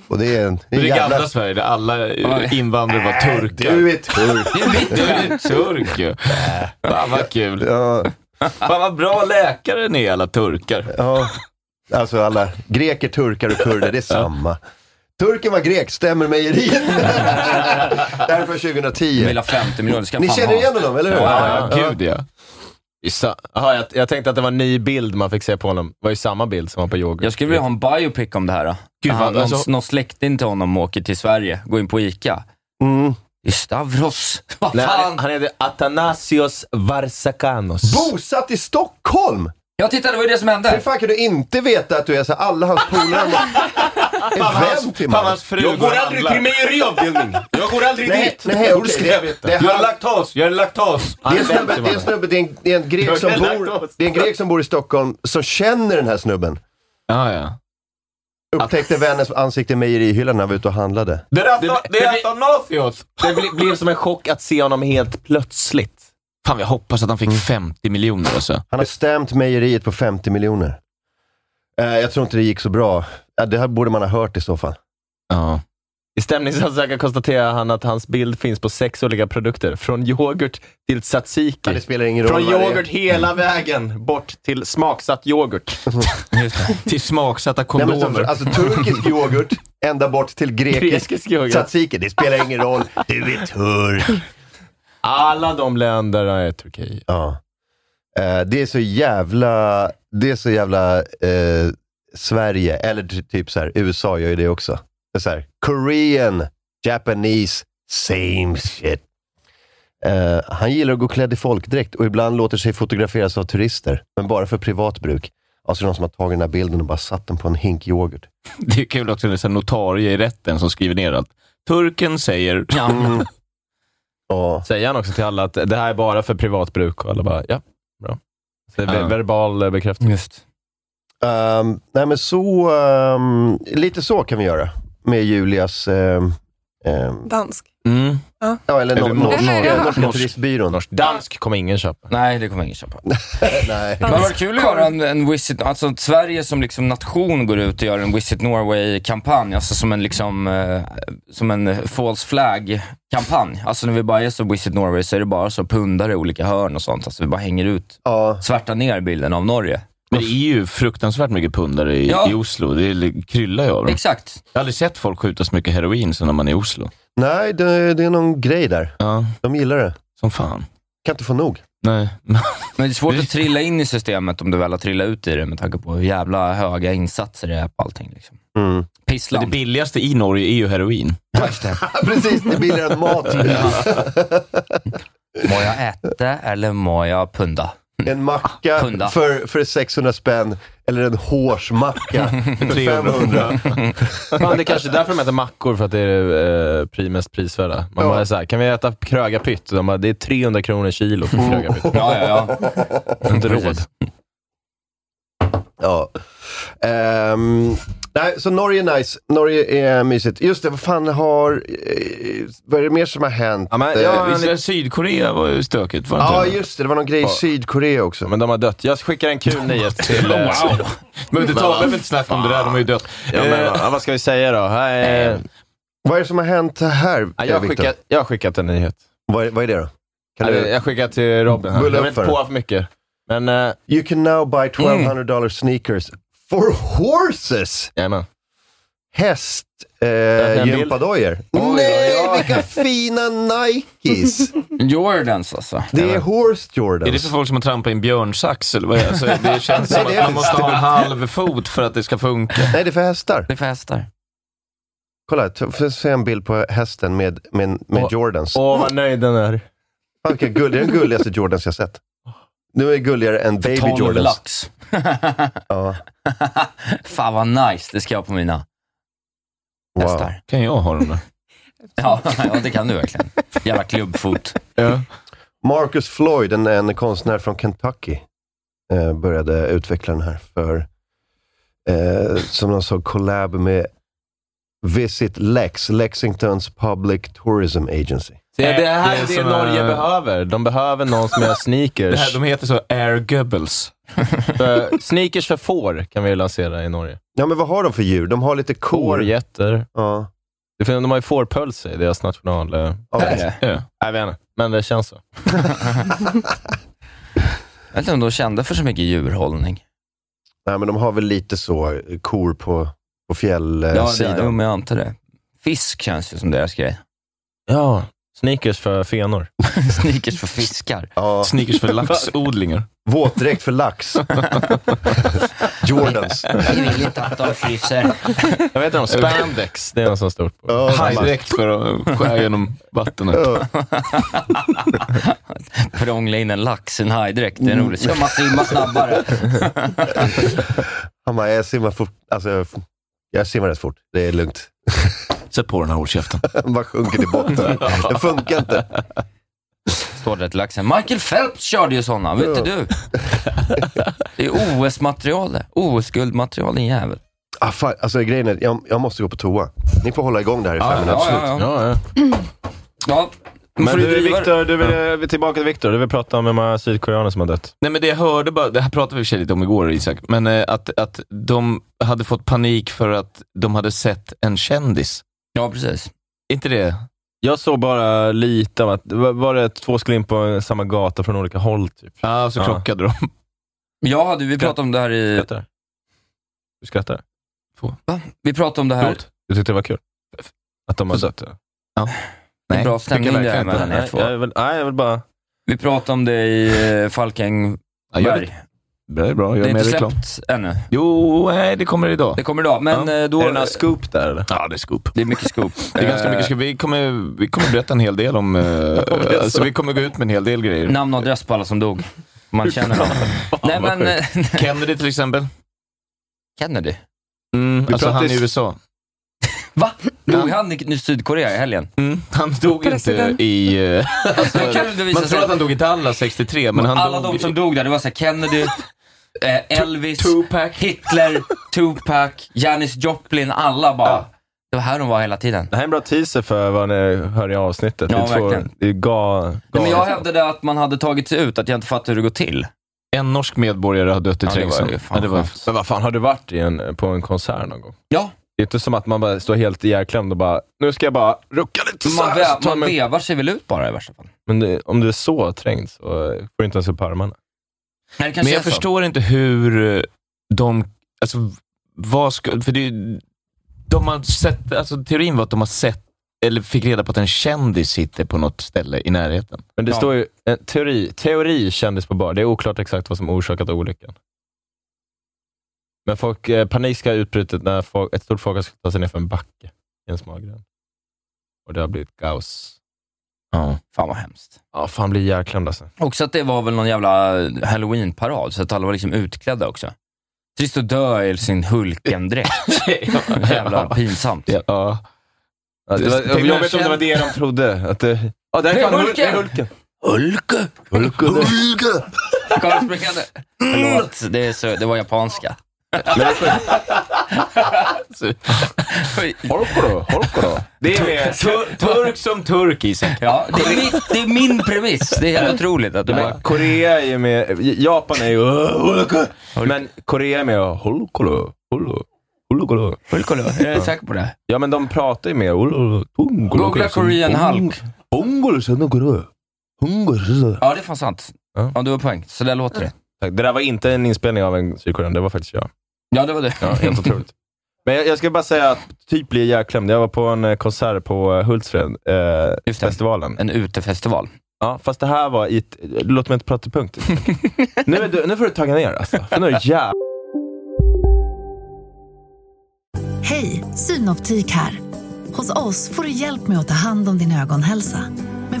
S4: Och det är en,
S9: Det
S4: en
S9: är det
S4: jävla...
S9: gamla Sverige där alla eh, invandrare var turkar.
S4: Du är turk! Äh.
S9: Det är mitt Du är turk ju. Fan vad kul.
S4: Ja,
S9: Fan vad bra läkare ni är alla turkar.
S4: ja. Alltså alla greker, turkar och kurder, det är samma. Turken var grek, stämmer mejeriet. det här är från 2010.
S5: De vill ha 50 miljoner, det ska
S4: Ni
S5: fan
S4: känner
S5: ha.
S4: igen honom, eller hur?
S9: Ja, ja, gud ja.
S7: Sa- Jaha, jag, jag tänkte att det var en ny bild man fick se på honom. Det var ju samma bild som var på yoghurt.
S5: Jag skulle vilja ha en biopic om det här. då.
S7: Gud,
S5: När
S7: vad-
S5: han- någon,
S7: alltså-
S5: någon släkting till honom åker till Sverige, går in på ICA.
S4: Mm.
S5: I Stavros. Vad
S7: Nej,
S5: fan?
S7: han, han heter Athanasios Varsakanos.
S4: Bosatt i Stockholm!
S5: Jag tittade, det var ju det som
S4: Hur
S5: hände.
S4: fan kan du inte veta att du är så här, alla hans polare är vän till
S9: Fan
S4: mig?
S9: hans fru går och handlar.
S7: mejeriavdelningen. Jag går aldrig
S4: Nej, dit. nej, Då okej, ska jag det- veta. det är han-
S7: laktas, jag är laktas.
S4: Det är en snubbe, det är en, snubbe det, är en, det, är en grek som
S7: Jag har lagt
S4: bor,
S7: oss.
S4: det är en grek som bor i Stockholm som känner den här snubben.
S9: Ja, ja.
S4: Upptäckte vänens ansikte i mejerihyllan när han var ute och handlade.
S7: Det, alltså
S9: Det är Athanasios.
S7: det bli- blev som en chock att se honom helt plötsligt.
S9: Fan, jag hoppas att han
S4: Mm.
S9: fick 50 miljoner alltså.
S4: Han har stämt mejeriet på 50 miljoner. Eh, jag tror inte det gick så bra. Ja, det här borde man ha hört i så fall.
S9: Ja.
S7: I stämningsansökan konstaterar han att hans bild finns på sex olika produkter. Från yoghurt till
S4: Ja, det
S7: tzatziki.
S4: spelar ingen roll
S7: Från
S4: vad det är.
S7: yoghurt hela vägen bort till smaksatt yoghurt.
S9: Till smaksatta
S4: Nej, men,
S9: kondomer.
S4: så- alltså turkisk yoghurt, ända bort till grekisk
S7: Grekisk yoghurt.
S4: tzatziki. Det spelar ingen roll. Du är turk.
S7: Alla de länderna är Turkiet.
S4: Ja. Eh, det är så jävla, det är så jävla eh, Sverige, eller ty- typ så här, USA gör ju det också. Det är så här, Korean, Japanese, same shit. Eh, han gillar att gå klädd i folkdräkt och ibland låter sig fotograferas av turister, men bara för privat bruk. Alltså någon som har tagit den här bilden och bara satt den på en hink yoghurt.
S9: Det är kul också när det är en notarie i rätten som skriver ner allt. Turken säger...
S5: Ja.
S4: Mm. Ja.
S7: Säger han också till alla att det här är bara för privat bruk och alla bara, ja, bra. Så det är
S9: Ja.
S7: ve- verbal eh, bekräftelse.
S5: Just.
S4: Ehm, nej men så, ehm, lite så kan vi göra med Julias ehm, Ehm,
S6: Dansk.
S5: Mm.
S6: Ja.
S4: Ja, eller
S7: Eller
S4: nor-
S7: norsk.
S4: nor-
S6: Eller-
S4: norska norska
S7: Norsk.
S4: turistbyrån.
S7: Norsk. Dansk kommer ingen köpa.
S5: Nej, det kommer ingen köpa.
S4: Nej.
S5: Men det var kul att göra en, en Visit, alltså att Sverige som liksom nation går ut och gör en Visit Norway-kampanj, alltså som en liksom, eh, som en false flag-kampanj. Alltså när vi bara är så Visit Norway så är det bara så pundare i olika hörn och sånt. Alltså vi bara hänger ut,
S4: Ja.
S5: svärtar ner bilden av Norge.
S9: Men det är ju fruktansvärt mycket pundare i,
S5: Ja.
S9: i Oslo. Det är- kryllar ju av dem.
S5: Exakt.
S9: Jag har aldrig sett folk skjuta så mycket heroin som när man är i Oslo.
S4: Nej, det, det är någon grej där.
S9: Ja,
S4: De gillar det.
S9: som fan.
S4: Kan inte få nog.
S9: Nej.
S5: Men det är svårt att trilla in i systemet om du väl har trillat ut i det med tanke på hur jävla höga insatser det är på allting. Liksom.
S4: Mm.
S9: Men det
S5: Pissland.
S9: billigaste i Norge är ju heroin.
S4: Precis, det är billigare än mat.
S5: Må jag äta eller må jag punda?
S4: En macka
S5: Punda.
S4: för, för 600 spänn, eller en hårsmacka för 500.
S7: Fan, det är kanske är därför de äter mackor, för att det är eh, pri- mest prisvärda. Man
S4: Ja.
S7: bara är så här, kan vi äta krögarpytt? De bara, det är 300 kronor kilo för
S4: Mm.
S7: krögarpytt.
S5: Ja, ja, ja.
S7: Inte råd.
S5: Precis.
S4: Ja. Ehm, nej, så Norge är nice. Norge är mysigt. Just det, vad fan har... eh, vad är det mer som har hänt?
S7: Ja, men,
S4: Eh,
S7: ja,
S9: Visst är det Sydkorea var ju stökigt, var det
S4: ja,
S9: inte?
S4: just det. Det var någon grej i Sydkorea också.
S7: men de har dött. Jag skickar en kul nyhet till... eh,
S9: Wow! Men det tar- behöver inte snacka om det där, de har ju dött.
S7: Ja, men, ja, Eh, vad ska vi säga då? Här, eh,
S4: Vad är det som har hänt här,
S7: ja,
S4: eh,
S7: jag, har
S4: Victor?
S7: skickat, jag har skickat en nyhet.
S4: Vad, är- vad är det då? Kan
S7: Eller,
S4: du,
S7: jag skickar till Robin. Här. Jag
S4: Bulla
S7: vill
S4: upp
S7: inte
S4: för
S7: påa för mycket. Men, eh,
S4: you can now buy 1200 dollar sneakers for horses!
S7: jajamän.
S4: Eh,
S7: är en bild.
S4: Hästgympadojor. Eh, Nej, vilka fina Nikes!
S5: Jordans alltså.
S4: Det är Horse Jordans.
S9: Är det för folk som har trampat i en björnsax eller vad är det? Alltså, det känns som
S4: Nej,
S9: att
S4: det är
S9: man måste ha en halv fot för att det ska funka.
S4: Nej, det är för hästar.
S5: Det är för hästar.
S4: Kolla, t- får jag se en bild på hästen med, med, med
S7: Åh.
S4: Jordans. Fan,
S7: Åh, vad nöjd den är.
S4: vilka gulliga, det är den gulligaste Jordans jag sett. Nu är det gulligare än Baby
S5: Tolv
S4: Jordans.
S5: lax.
S4: Ja,
S5: Fan vad nice, det ska jag ha på mina
S4: wow.
S5: hästar.
S9: Kan jag ha dem där?
S5: Ja, ja, det kan du verkligen. Jävla klubbfot.
S9: Ja.
S4: Marcus Floyd, en, en konstnär från Kentucky, eh, började utveckla den här för, eh, som någon såg, collab med Visit Lex, Lexingtons Public Tourism Agency.
S7: Se, det här
S9: Det
S7: är
S9: är
S7: det
S9: som,
S7: Norge
S9: eh,
S7: behöver. De behöver någon som gör
S9: Det
S7: sneakers.
S9: här, de heter så Air Goebbels.
S7: för, sneakers för får kan vi lansera i Norge.
S4: Ja, men vad har de för djur? De har lite
S7: Får,
S4: kor.
S7: getter.
S4: Ja.
S7: Det finns- De har ju fårpölse i deras national... eh,
S4: Ja.
S9: Ja.
S7: Jag vet inte, men det känns så.
S5: Jag vet inte om de kände för så mycket djurhållning.
S4: Nej, men de har väl lite så eh, kor på, på Eh,
S5: Ja, det, jo,
S4: fjällsidan.
S5: men jag antar det. Fisk känns ju som deras grej.
S7: Ja, sneakers för fenor.
S5: Sneakers för fiskar.
S4: Ja,
S9: Sneakers för laxodlingar.
S4: våtdräkt för lax. Jordans.
S5: Vi vill inte att de fryser.
S7: Jag vet inte om spandex, det är något sånt stort. på.
S4: Ja,
S9: Haj
S4: samma.
S9: direkt för att skära genom vattnet.
S4: Ja.
S5: Prångla in en lax i en hajdräkt, det är
S9: Mm.
S5: roligt. Så Mm. man simmar snabbare.
S4: Han bara, jag simmar fort. Alltså, jag f- jag simmar rätt fort. Det är lugnt.
S9: Sätt på den här hålkäften.
S4: Han bara sjunker till botten. Det funkar inte.
S5: Står det till laxen. Michael Phelps körde ju sådana, vet inte du? Det är OS-material det. OS-guldmaterial, din jävel.
S4: Ah, fan. Alltså, grejen är, jag, jag måste gå på toa. Ni får hålla igång det här i fem minuter.
S5: ja, ja.
S7: ja.
S5: ja.
S7: Men
S5: får
S7: du,
S5: driva det.
S7: Victor, du vill, eh, tillbaka till Victor. Du vill prata om hur många sydkoreaner som har dött.
S9: Nej men det jag hörde bara, det här pratade vi i och för sig lite om igår Isak, men eh, att, att de hade fått panik för att de hade sett en kändis.
S5: Ja, precis.
S9: Är inte det?
S7: Jag såg bara lite av att, var var det att två skulle in på samma gata från olika håll? Typ.
S9: Ja, så
S7: Ja.
S9: krockade de.
S5: Ja, du, vi pratade om det här i...
S7: Skrattar du? Du skrattar?
S5: Vi pratade om det här...
S9: Förlåt?
S7: Du tyckte det var kul? Att de har
S9: Så-
S7: dött? ja.
S5: Det är bra
S9: tycker jag
S5: stämning det är
S9: verkligen
S5: mellan
S9: inte.
S5: er
S7: Nej,
S5: två.
S7: jag vill, nej, jag vill bara...
S5: Vi pratade om det i eh, Falkenberg.
S9: Ja, gör det. det är bra,
S5: det
S9: gör
S5: är
S9: mer
S5: inte
S9: reklam.
S5: släppt ännu.
S9: Jo, nej, det kommer idag.
S5: Det kommer idag, men
S9: Ja.
S5: eh, då...
S7: är det några scoop där eller?
S9: Ja, det är scoop.
S5: Det är mycket scoop.
S9: Det är ganska mycket skri- vi kommer, vi kommer berätta en hel del om... Eh,
S7: är
S9: alltså,
S7: så.
S9: vi kommer gå ut med en hel del grejer.
S5: Namn och adress på alla som dog. Man känner dem. Nej,
S9: vad alltså,
S5: men... eh,
S9: Kennedy till exempel.
S5: Kennedy?
S9: Mm,
S7: Vi
S9: alltså
S7: pratar
S9: han i
S7: s-
S9: USA.
S5: Va? Dog han i i Sydkorea i helgen?
S9: Mm, han dog
S6: President.
S9: inte i... eh, Alltså,
S5: Det kan ju visa
S9: man tror
S5: sig.
S9: att han dog i Dallas 63, men han
S5: Alla
S9: dog...
S5: de som dog där, det var så här Kennedy, eh, Elvis,
S9: Tupac.
S5: Hitler, Tupac, Janis Joplin, alla bara. Det var här de var hela tiden.
S7: Det här är en bra teaser för vad ni hör i avsnittet.
S5: Ja,
S7: det är
S5: verkligen.
S7: det är ga, ga,
S5: Nej, men jag hävdade att man hade tagit sig ut, att jag inte fattar hur det går till.
S9: En norsk medborgare har dött i
S5: Ja, det var
S9: trängseln.
S5: ju fan
S9: Ja, det var-
S5: skönt.
S7: Men vad fan, har du varit i en, på en konsert någon gång?
S5: Ja.
S7: Det är inte som att man bara står helt ihjälklämd och bara, nu ska jag bara rucka lite så
S5: Man,
S7: här, så
S5: vä-
S7: tar jag
S5: man
S7: mig-
S5: vevar sig väl ut bara i värsta fall.
S7: Men det, om du är så trängd så eh, får du inte ens upp armarna.
S5: Nej, det kanske
S9: Men jag
S5: är så.
S9: förstår inte hur eh, de, alltså vad ska, för det är ju- de har sett, alltså teorin var att de har sett, eller fick reda på att en kändis sitter på något ställe i närheten.
S7: Men det
S5: Ja.
S7: står ju, eh, teori, teori kändis på bar. Det är oklart exakt vad som orsakat olyckan. Men folk, eh, panik ska ha utbrutit när folk, ett stort folk ska ta sig ner för en backe i en smal gränd. Och det har blivit kaos.
S9: Ja.
S5: Fan vad hemskt.
S7: Ja, fan blir ihjälklämd alltså.
S5: Också att det var väl någon jävla halloween-parad, så att alla var liksom utklädda också. Trist att dö i sin Hulken-dräkt. Jävla pinsamt.
S9: Ja. ja.
S7: Ja, det var,
S9: Tänk om
S7: jobbigt om det var det de trodde. Att det, ja, det, här är fan Hulken. det är Hulken.
S5: Hulke!
S7: Hulken.
S5: Kom springande. Förlåt, det, är så, det var japanska.
S7: Hulken. Hulken.
S9: Det är mer tur- turk som turk i sig.
S5: Ja, det, är min, det är min premiss. Det är helt otroligt att du bara...
S7: Men Korea är ju med, Japan är ju Hulken. Men Korea är med Hulkolo. Hulkolo. Hulkolo.
S5: Hulkolo, är du säker på det?
S7: Ja, men de pratar ju med
S5: Googla
S7: Googla
S5: Korean Hulk. Ja, det är fan sant.
S7: Ja.
S5: Ja, du har poäng. Så där låter det.
S7: Det där var inte en inspelning av en sydkorean, det var faktiskt jag.
S5: Ja, det var det.
S7: Ja, helt otroligt. Men jag, jag ska bara säga att typ blir ihjälklämd. Jag var på en eh, konsert på eh, Hultsfred, eh,
S5: Just det.
S7: festivalen.
S5: En utefestival.
S7: Ja, fast det här var i ett... Låt mig inte prata punkt. nu, är du, nu får du tagga ner alltså. För nu är det jävla...
S11: Hej, Synoptik här. Hos oss får du hjälp med att ta hand om din ögonhälsa. Med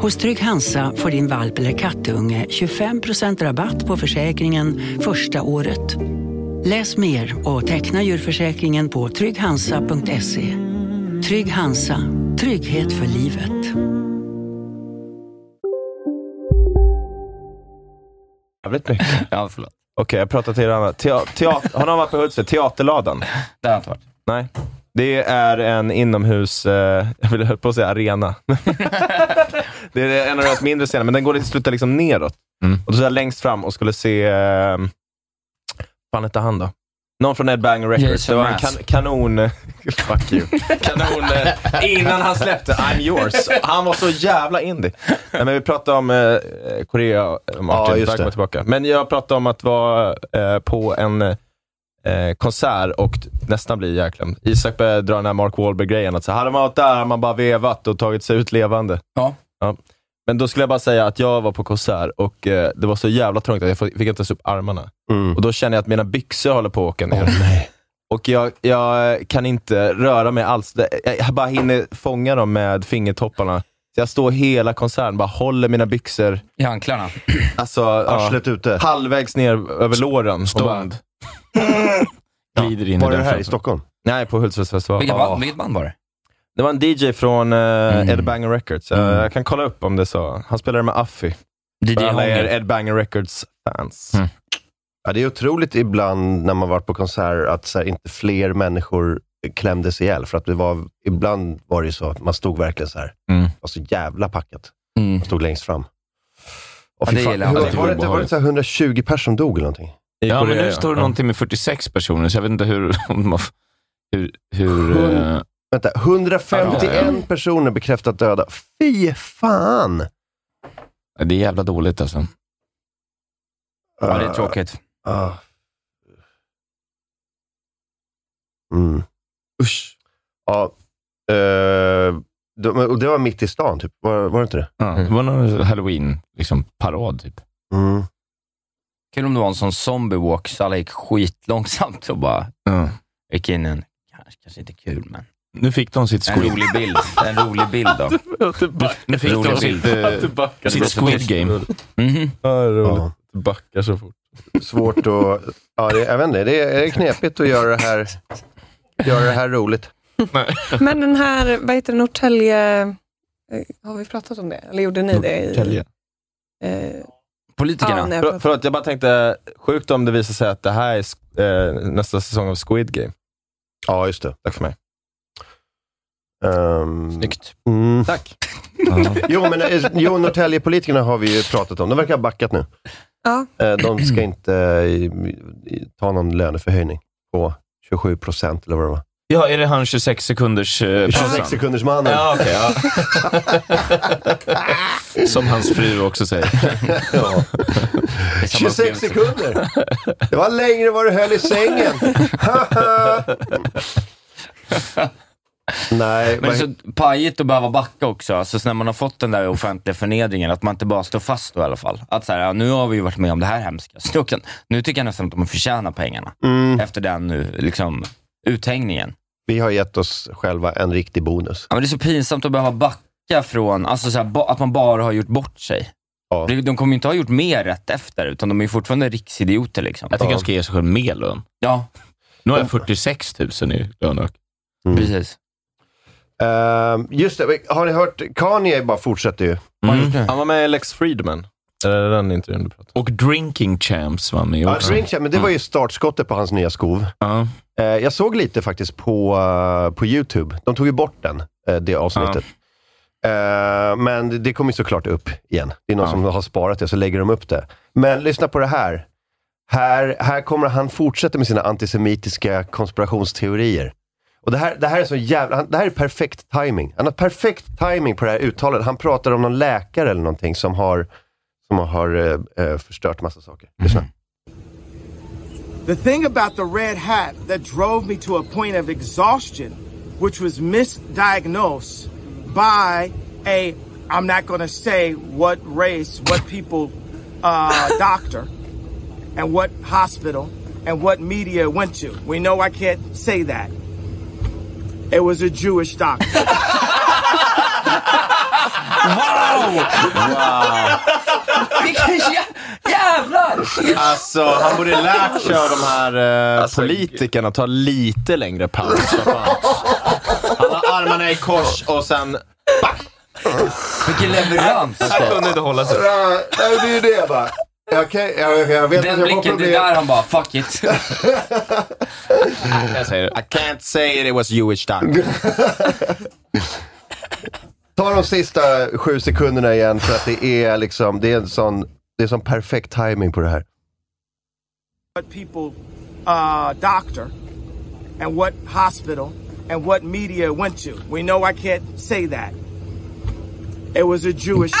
S12: Hos Trygg Hansa får din valp eller kattunge 25% rabatt på försäkringen första året. Läs mer och teckna djurförsäkringen på trygghansa.se. Trygg Hansa, trygghet för livet.
S7: Jävligt mycket. Okej,
S5: Ja, förlåt.
S7: jag pratar till er andra. Tea- teater, har någon varit på Hultsfred? Teaterladan?
S5: Det har jag inte varit.
S7: Nej. Det är en inomhus, eh, jag ville höll på att säga arena. det är en av deras mindre scener, men den går lite sluta liksom neråt.
S9: Mm.
S7: Och då satt jag längst fram och skulle se, eh, fan hette han då? Någon från Ed Banger Records.
S5: Jason
S7: det var en kan,
S5: Mraz.
S7: kanon... eh, Fuck you. Kanon... eh, Innan han släppte I'm yours. Han var så jävla indie. Nej, men vi pratade om eh, Korea, eh, Martin.
S4: Ja,
S7: Ja,
S4: just
S7: Där
S4: det.
S7: det. tillbaka. Men jag pratade om att vara eh, på en eh, konsert och t- nästan bli ihjälklämd. Isak började dra den här Mark Wahlberg-grejen. Att så, hade man varit där hade man bara vevat och tagit sig ut levande.
S5: Ja.
S7: ja. Men då skulle jag bara säga att jag var på konsert och eh, det var så jävla trångt att jag fick fick inte ens upp armarna.
S4: Mm.
S7: Och då känner jag att mina byxor håller på att åka ner. Och jag, jag kan inte röra mig alls. Det- Jag bara hinner fånga dem med fingertopparna. Så jag står hela konserten, bara håller mina byxor.
S5: I anklarna.
S7: Alltså, ja,
S4: Arslet ute.
S7: halvvägs ner över låren. Och bara-
S9: Stånd. Glider in
S4: Var
S9: i
S4: det
S9: den
S4: här i
S9: framför.
S4: Stockholm?
S7: Nej, på Hultsfredsfestivalen.
S5: Vilket
S7: Ja.
S5: band, vilket band var det?
S7: Det var en DJ från eh, Ed Banger Records. Jag,
S9: Mm.
S7: jag kan kolla upp om det så. Han spelade med Affy. För
S5: DJ
S7: alla er
S5: Hångel.
S7: Ed Banger Records-fans.
S9: Mm.
S4: Ja, det är otroligt ibland när man varit på konserter att så här, inte fler människor klämdes ihjäl. För att det var, ibland var det ju så att man stod verkligen så här.
S9: Mm.
S4: Det var så jävla packat.
S5: Mm.
S4: Man stod längst fram.
S5: Ja,
S4: Och fy
S5: det
S4: fan,
S5: gillar
S4: hur-
S5: jag.
S4: var, det, var, det, var det så här 120 personer som dog eller någonting?
S7: I
S9: Ja, men
S7: Korea,
S9: nu står det någonting med 46 personer, så jag vet inte hur... Om de har, hur, hur eh,
S4: Vänta, 151 personer bekräftat döda. Fy fan!
S9: Det är jävla dåligt alltså.
S5: Ja,
S4: Eh,
S5: det är tråkigt.
S4: Ah. Mm. Usch. Ja. eh, de, och det var mitt i stan, typ. Var, var det inte det?
S9: Ja, det var någon halloween liksom, parad typ.
S4: Mm.
S5: Kul om det var en sån zombie walk, så alla gick skitlångsamt och bara gick in i en, kanske, kanske inte kul, men
S9: Nu fick de sitt
S5: en
S9: squid.
S5: rolig bild. En rolig bild då.
S9: Nu fick de
S5: Rolig
S9: sitt,
S5: bild.
S9: eh, sitt squid game.
S5: Mhm.
S7: Ja, det är roligt. Du backar så fort.
S4: Svårt att... Ja, det, jag vet inte. Det är, det är knepigt att göra det här, göra det här roligt.
S6: Men den här, vad heter det, Norrtälje... eh, Har vi pratat om det? Eller gjorde ni det? I, eh, Ja, nej, jag
S7: För,
S6: pratar-
S7: förlåt, jag bara tänkte, sjukt om det visar sig att det här är sk- eh, nästa säsong av Squid Game.
S4: Ja, just det.
S7: Tack för mig.
S4: Um,
S5: Snyggt.
S4: Mm.
S7: Tack.
S4: jo, men eh, jo, Norrtäljepolitikerna har vi ju pratat om. De verkar ha backat nu.
S6: Ja.
S4: Eh, De ska inte eh, i- ta någon löneförhöjning på 27 procent eller vad det var.
S9: Ja, är det han 26 sekunders... Eh,
S4: 26 sekunders mannen.
S9: Ja, okej, ja. Som hans fru också säger.
S4: ja. 26 sekunder! Det var längre än vad du höll i sängen. Nej,
S5: Men
S4: vad-
S5: så pajigt att behöva backa också. Alltså, så när man har fått den där offentliga förnedringen, att man inte bara står fast då i alla fall. Att så här, ja, nu har vi ju varit med om det här hemska. Så då kan, nu tycker jag nästan att de förtjänar pengarna.
S9: Mm.
S5: Efter den nu, liksom, uthängningen.
S4: Vi har gett oss själva en riktig bonus.
S5: Ja, men det är så pinsamt att behöva backa från, alltså så här, ba, att man bara har gjort bort sig. Det- De kommer ju inte ha gjort mer rätt efter, utan de är ju fortfarande riksidioter. Liksom.
S9: Jag tycker de ska ge sig själv mer lön.
S5: Ja.
S9: Nu har jag 46 000 i löneök.
S4: Mm.
S5: Precis.
S4: Ehm, just det, har ni hört? Kanye bara fortsätter ju.
S9: Mm.
S7: Han var med i Lex Friedman. Eller den intervjun du pratade Mm.
S9: Och Drinking Champs var med
S4: Ja,
S9: också.
S4: Drink Champ, men det var ju startskottet på hans nya skov. Eh, jag såg lite faktiskt på, eh, på YouTube. De tog ju bort den, eh, det avsnittet. Eh, men det, det kommer ju såklart upp igen. Det är någon som har sparat det, så lägger de upp det. Men lyssna på det här. Här, här kommer han fortsätta med sina antisemitiska konspirationsteorier. Och det här, det här är så jävla... Han, det här är perfekt timing. Han har perfekt timing på det här uttalandet. Han pratar om någon läkare eller någonting som har, som har eh, eh, förstört massa saker. Lyssna.
S13: The thing about the red hat that drove me to a point of exhaustion, which was misdiagnosed by a, I'm not going to say what race, what people, uh, doctor, and what hospital, and what media it went to. We know I can't say that. It was a Jewish doctor.
S5: Vilken jävlar!
S7: Alltså, han borde lärt sig av de här eh,
S9: Alltså,
S7: politikerna att ta lite längre paus. vad fan. Han har armarna i kors och sen...
S5: Vilken leverans!
S7: Han kunde inte hålla sig.
S4: det är ju det bara. Jag, kan, jag, jag vet
S5: Den
S4: att jag har
S5: blicken, det är
S4: problem.
S5: där han bara, fuck it.
S7: Jag säger det. I can't say it was Jewish time.
S4: Ta de sista sju sekunderna igen för att det är liksom, det är en sån, det är sån perfekt timing på det här.
S13: what people, uh, doctor, and what hospital, and what media it went to. We know I can't say that. It was a Jewish.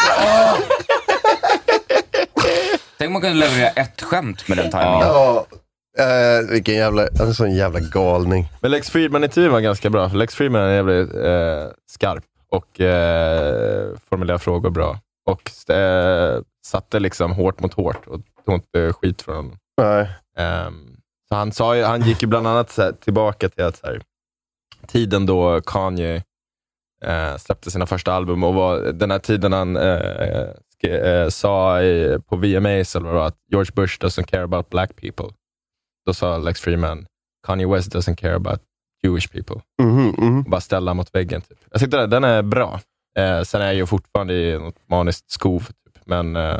S5: Tänk om man kunde leverera ett skämt med den timingen.
S4: Ja. Eh, vilken jävla, en sån jävla galning.
S7: Men Lex Friedman-intervjun var ganska bra. för Lex Friedman är jävligt eh, skarp och eh, formulerar frågor bra. Och eh, satte liksom hårt mot hårt och tog inte skit från honom.
S4: Nej.
S7: Ehm, så han, sa ju, han gick ju bland annat så här, tillbaka till att så här, tiden då Kanye eh, släppte sina första album och var, den här tiden han eh, sk- eh, sa i, på VMAs eller vad det var, att George Bush doesn't care about black people. Då sa Lex Freeman, Kanye West doesn't care about Jewish people. Och bara ställa mot väggen. Typ. Jag tyckte den- den är bra. Eh, sen är jag fortfarande i något maniskt skov, typ. men eh,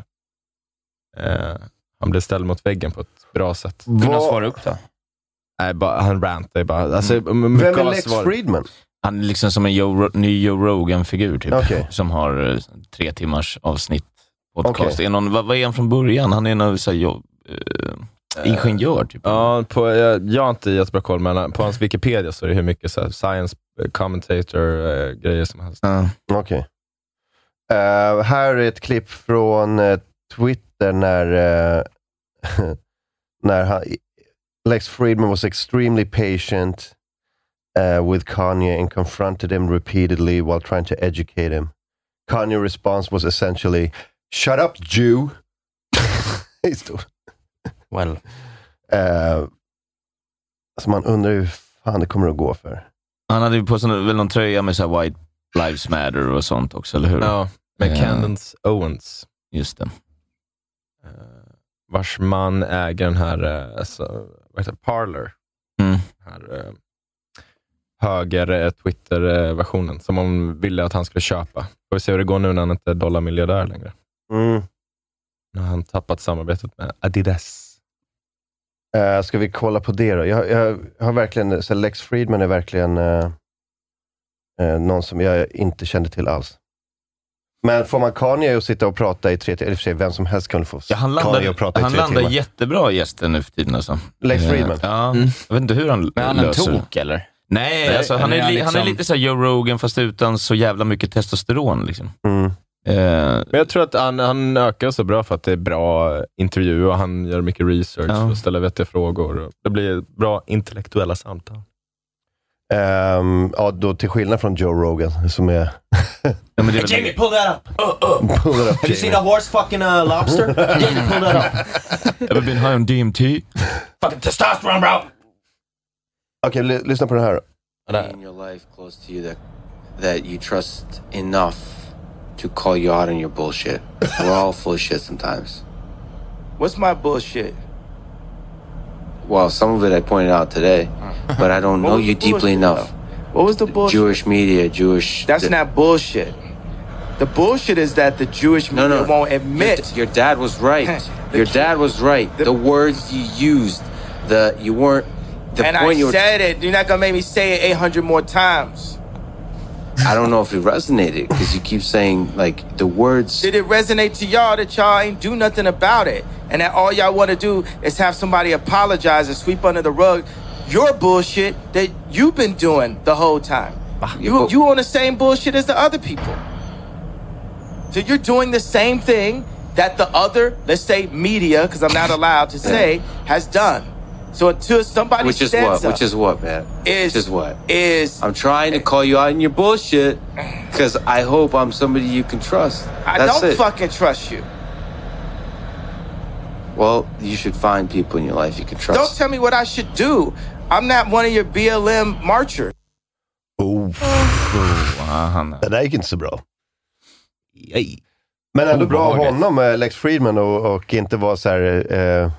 S7: eh, han blev ställd mot väggen på ett bra sätt.
S5: Kunde han svara upp då?
S7: Nej, bara, han rantade bara. Alltså,
S9: Mm.
S7: mycket
S9: Vem är
S7: av
S9: Lex
S7: svar-
S4: Friedman?
S9: Han är liksom som en Joe, Ro- ny Joe Rogan-figur, typ.
S4: Okej.
S9: Som har eh, tre timmars avsnitt podcast.
S7: Okej.
S9: Är någon, vad, vad är han från början? Han är någon så här, jobb, eh, ingenjör, typ.
S7: Ja, på, jag, jag har inte jättebra koll, men på hans Wikipedia så är eh, det hur mycket så här, science commentator-grejer som helst.
S9: Ja.
S4: Okej. Eh, här är ett klipp från eh, Twitter när, eh, när han, Lex Friedman was extremely patient uh, with Kanye and confronted him repeatedly while trying to educate him. Kanye's response was essentially, Shut up, Jew! I stort.
S5: Well.
S4: Eh, alltså man undrar hur fan det kommer att gå för.
S9: Han hade ju på sig väl någon tröja med så här White Lives Matter och sånt också, eller hur?
S7: Ja, med
S9: Eh,
S7: Candence Owens. Eh,
S9: Just det.
S7: Vars man äger den här, eh, alltså, vad heter det, Parler.
S9: Mm.
S7: Den här eh, höger eh, Twitter-versionen som hon ville att han skulle köpa. Får vi se hur det går nu när han inte är dollarmiljardär längre.
S4: Mm.
S7: Nu har han tappat samarbetet med Adidas.
S4: Uh, ska vi kolla på det då? Jag, jag har verkligen, så Lex Friedman är verkligen eh, eh, någon som jag inte kände till alls. Men får man Kanye att sitta och prata i tre timmar, eller i och för sig, vem som helst kan väl få
S9: Ja, han
S4: Kanye att
S9: landar,
S4: prata i
S9: han
S4: tre
S9: landar
S4: timmar.
S9: jättebra i gästen nu för tiden. Alltså.
S4: Lex
S9: Eh,
S4: Friedman?
S9: Ja, Jag vet inte hur han
S5: Mm. Men han är en
S9: löser det.
S5: tok, eller?
S9: Nej,
S5: Nej,
S9: alltså, han,
S5: eller
S9: är,
S5: är han
S9: li- han är
S5: liksom-
S9: lite så här Joe Rogan fast utan så jävla mycket testosteron. Liksom.
S4: Mm.
S9: Eh,
S7: Men jag tror att han, han ökar så bra för att det är bra intervjuer och han gör mycket research
S9: Ja.
S7: och ställer vettiga frågor. och Det blir bra intellektuella samtal.
S4: Ehm, ja, då till skillnad från Joe Rogan som är...
S9: ja, men
S14: Hey, Jamie, pull that up. Uh, uh.
S4: Pull it up,
S14: Have you
S4: Jamie.
S14: seen a horse fucking uh, lobster? Jamie, pull that up.
S9: Ever been high on DMT?
S14: Fucking testosterone, bro.
S4: Okej, ly- lyssna på det här.
S15: in your life close to you that that you trust enough to call you out on your bullshit. We're all full of shit sometimes. What's my bullshit? Well, some of it I pointed out today, but I don't
S14: What
S15: know
S14: was
S15: you
S14: the
S15: deeply
S14: bullshit,
S15: enough.
S14: What was the bullshit?
S15: Jewish media, Jewish.
S14: That's not bullshit. The bullshit is that the Jewish
S15: No,
S14: media
S15: no.
S14: won't admit.
S15: Your, your dad was right. your dad was right. The, words you used, the you weren't. The
S14: and
S15: point
S14: I
S15: you were.
S14: said it. You're not gonna make me say it 800 more times.
S15: I don't know if it resonated because you keep saying like the words
S14: Did it resonate to y'all that y'all ain't do nothing about it, and that all y'all want to do is have somebody apologize and sweep under the rug your bullshit that you've been doing the whole time? You you on the same bullshit as the other people. So you're doing the same thing that the other, let's say media, because I'm not allowed to say, has done. So until somebody
S15: Which is
S14: stands
S15: what?
S14: up,
S15: Which is what, man?
S14: Is-
S15: Which is what?
S14: Is
S15: I'm trying to call you out on your bullshit because I hope I'm somebody you can trust.
S14: I
S15: That's
S14: don't
S15: it.
S14: fucking trust you.
S15: Well, you should find people in your life you can
S14: Don't
S15: trust.
S14: tell me what I should do. I'm not one of your BLM marchers.
S4: Det där gick inte så bra. Men ändå bra av
S14: Obehagligt.
S4: honom, eh, Lex Friedman, och, och inte vara så här, eh,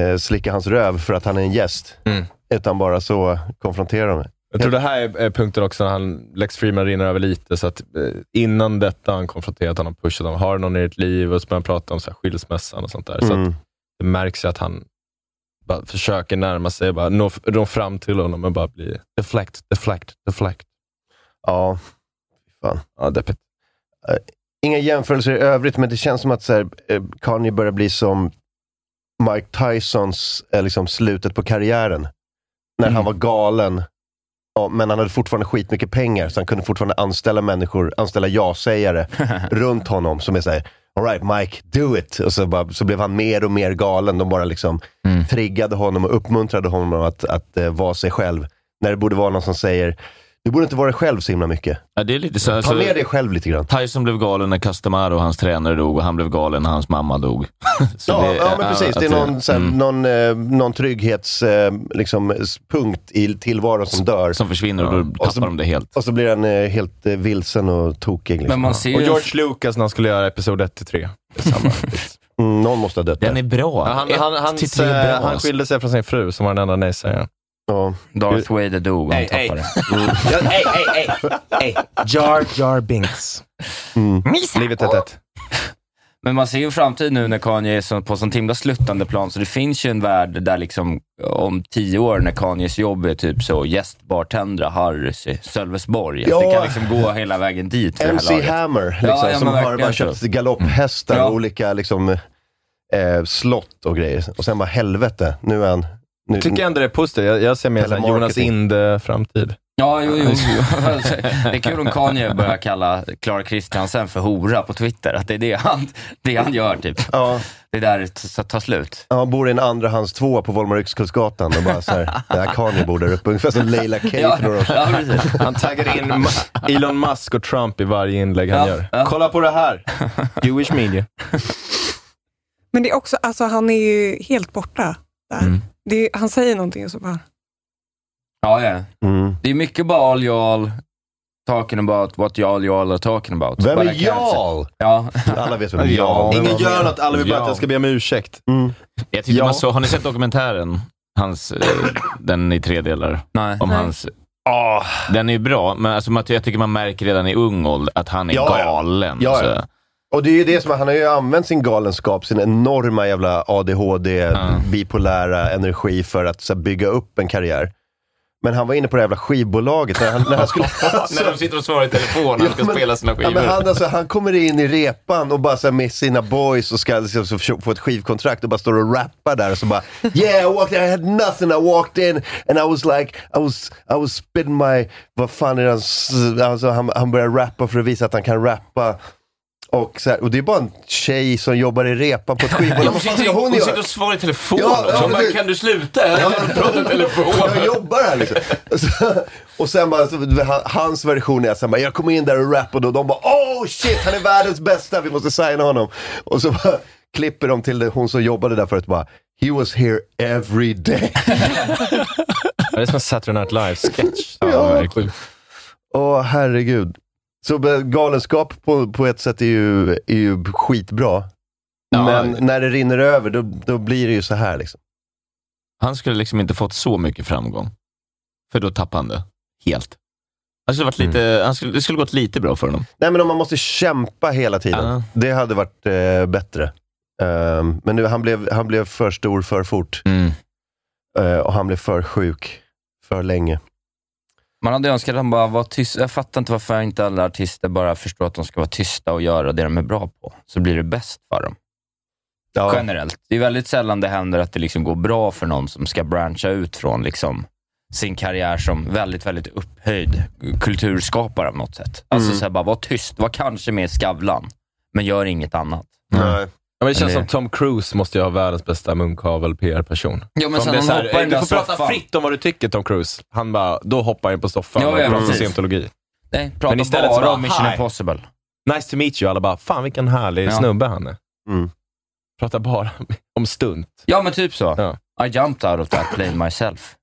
S4: eh, slicka hans röv för att han är en gäst.
S7: Mm.
S4: Utan bara så konfrontera honom.
S7: Jag tror det här är är punkten också när han, Lex Freeman rinner över lite. Så att eh, innan detta har han konfronterat honom, pushat honom. Har du någon i ditt liv? Och så börjar han prata om så här, skilsmässan och sånt där. Så
S4: Mm.
S7: att det märks ju att han bara försöker närma sig, bara nå, nå fram till honom och bara bli deflect, deflect, deflect.
S4: Ja, fan.
S7: Ja, deppigt.
S4: Eh, Inga jämförelser i övrigt, men det känns som att så här, eh, Kanye börjar bli som Mike Tysons eh, liksom, slutet på karriären. När
S7: Mm.
S4: han var galen, ja, men han hade fortfarande skitmycket pengar, så han kunde fortfarande anställa människor, anställa ja-sägare runt honom som är såhär, alright Mike, do it. Och så, bara, så blev han mer och mer galen. De bara liksom
S9: Mm.
S4: triggade honom och uppmuntrade honom att, att eh, vara sig själv. När det borde vara någon som säger, du borde inte vara dig själv så himla mycket.
S9: Ja, det är lite så,
S4: Ta ner dig själv lite grann.
S9: Tyson blev galen när Castamaro, hans tränare, dog och han blev galen när hans mamma dog. Så
S4: Ja,
S9: det-
S4: ja, men precis. Det är
S9: att
S4: någon, så här,
S9: mm,
S4: någon, eh, någon trygghets, eh, liksom, s- punkt i tillvaron som dör.
S9: Som försvinner och då tappar de det helt.
S4: Och så blir han eh, helt eh, vilsen och tokig. Liksom.
S7: och George Lucas när han skulle göra episod 1-3.
S4: mm, någon måste ha dött
S9: Den är bra.
S7: Han,
S9: Ett
S7: han,
S9: till
S7: hans,
S9: tre är bra,
S7: eh, han
S9: alltså.
S7: skilde sig från sin fru som var den enda nej-sägaren.
S5: Darth Vader dog och han
S7: Ey, ey.
S5: tappade.
S4: Mm.
S14: hey, hey, hey, hey.
S7: Jar Jar Binks.
S4: Mm.
S7: Livet ett ett.
S5: Men man ser ju en framtid nu när Kanye är så- på sånt himla sluttande plan, så det finns ju en värld där liksom om tio år när Kanyes jobb är typ så gästbartendra Harrys i Sölvesborg. att Det
S4: Ja.
S5: kan liksom gå hela vägen dit för det här
S4: MC
S5: laget.
S4: Hammer, liksom,
S5: Ja, ja,
S4: som
S5: men
S4: har
S5: verkligen
S4: bara
S5: så.
S4: köpt galopphästar
S7: Mm.
S4: och olika liksom, eh, slott och grejer. Och sen bara helvete, nu är han... Nu,
S7: Jag tycker ändå det är positivt. Jag, jag ser mer så här Jonas
S4: Telemarketing.
S7: Inde-framtid.
S5: Ja, jo, jo. jo. Alltså, det är kul om Kanye börjar kalla Clara Kristiansen för hora på Twitter. Att det är det han, det han gör, typ. Det är där det t- tar slut.
S4: Ja, han bor i en andrahands tvåa på Volmar Yxkullsgatan och bara såhär, där Kanye bor där uppe. Ungefär som Leila K för några år sedan.
S7: Han taggar in Ma- Elon Musk och Trump i varje inlägg han
S4: Ja,
S7: gör.
S4: ja.
S7: Kolla på det här! Jewish media.
S6: Men det är också, alltså han är ju helt borta där.
S4: Mm.
S6: Det är, han säger någonting och så bara,
S5: Ja, ja.
S7: Mm.
S5: Det är mycket bara all y'all talking about what y'all y'all are talking about.
S7: Vem
S5: Bara
S7: är
S5: cancer.
S7: y'all?
S5: Ja.
S4: Alla vet
S7: vem y'all är. Ingen gör något, alla vill bara att jag ska be om ursäkt.
S4: Mm.
S9: Jag tyckte
S7: Ja.
S9: man så, har ni sett dokumentären? Hans, eh, den i tre delar. Om
S7: Nej.
S9: hans...
S4: Ah.
S9: Oh. Den är ju bra, men alltså, man- jag tycker man märker redan i ung ålder att han är
S4: Ja, ja.
S9: galen. alltså.
S4: Ja,
S9: så.
S4: ja. Och det är ju det som, han har ju använt sin galenskap, sin enorma jävla ADHD, bipolära energi för att så här, bygga upp en karriär. Men han var inne på det jävla skivbolaget när han, när han skulle...
S9: När de sitter och svarar i telefon när de ska spela sina
S4: Ja,
S9: skivor.
S4: men han, alltså, han kommer in i repan och bara så här, med sina boys och ska liksom, så, försöka få ett skivkontrakt och bara står och rappar där och så bara Yeah, I walked in, I had nothing, I walked in and I was like, I was, I was spitting my, vad fan är det han, s- alltså, han, han börjar rappa för att visa att han kan rappa. Och, så här, och det är bara en tjej som jobbar i repan på ett skivbolag. Vad fan ska hon
S9: sitter
S4: göra?
S9: och svarar i telefon
S4: Ja,
S9: också.
S4: ja,
S9: Hon bara,
S4: precis.
S9: kan du sluta? Jag har pratat i telefon.
S4: Jag jobbar här liksom. Och så- Och sen bara, så, han- hans version är såhär, jag kom in där och rappade och de bara oh shit, han är världens bästa, vi måste signa honom. Och så bara, klipper de till det, hon som jobbade där förut bara, he was here every day.
S7: Det är som en Saturday Night Live-sketch.
S4: Ja. Åh herregud. Så be- galenskap på, på ett sätt är ju, är ju skitbra.
S9: Ja.
S4: Men när det rinner över, då, då blir det ju så här liksom.
S9: Han skulle liksom inte fått så mycket framgång. För då tappade han det helt. Han skulle varit lite, han skulle, det skulle gått lite bra för honom.
S4: Nej, men om man måste kämpa hela tiden.
S9: Ja.
S4: Det hade varit eh, bättre. Ehm, men nu, han, blev, han blev för stor för fort.
S9: Mm.
S4: Eh, och han blev för sjuk för länge.
S5: Man hade önskat att han bara var tyst. Jag fattar inte varför inte alla artister bara förstår att de ska vara tysta och göra det de är bra på, så blir det bäst för dem. Generellt. Det är väldigt sällan det händer att det liksom går bra för någon som ska brancha ut från liksom sin karriär som väldigt, väldigt upphöjd kulturskapare av något sätt. Alltså
S7: Mm.
S5: så här bara, var tyst, var kanske med i Skavlan, men gör inget annat.
S7: Nej. Ja, men det känns
S5: Men
S7: som
S5: det-
S7: Tom Cruise måste ju ha världens bästa munkavel PR-person.
S5: Ja, men
S7: Som
S5: sen
S7: blir
S5: han
S7: så här,
S5: hoppar i den
S7: Du
S5: där
S7: får prata
S5: soffan."
S7: fritt om vad du tycker Tom Cruise. Han bara, då hoppar jag in på soffan
S5: Ja,
S7: och
S5: ja,
S7: pratar
S5: precis.
S7: scientologi.
S5: Nej, prata
S7: Men istället så
S5: bara
S7: bara,
S5: om Mission
S7: "Hi."
S5: Impossible.
S7: Nice to meet you. Alla bara, fan vilken härlig
S5: Ja.
S7: snubbe han är.
S4: Mm.
S7: Pratar bara om stunt.
S5: Ja, men typ så. I jumped out of that plane myself.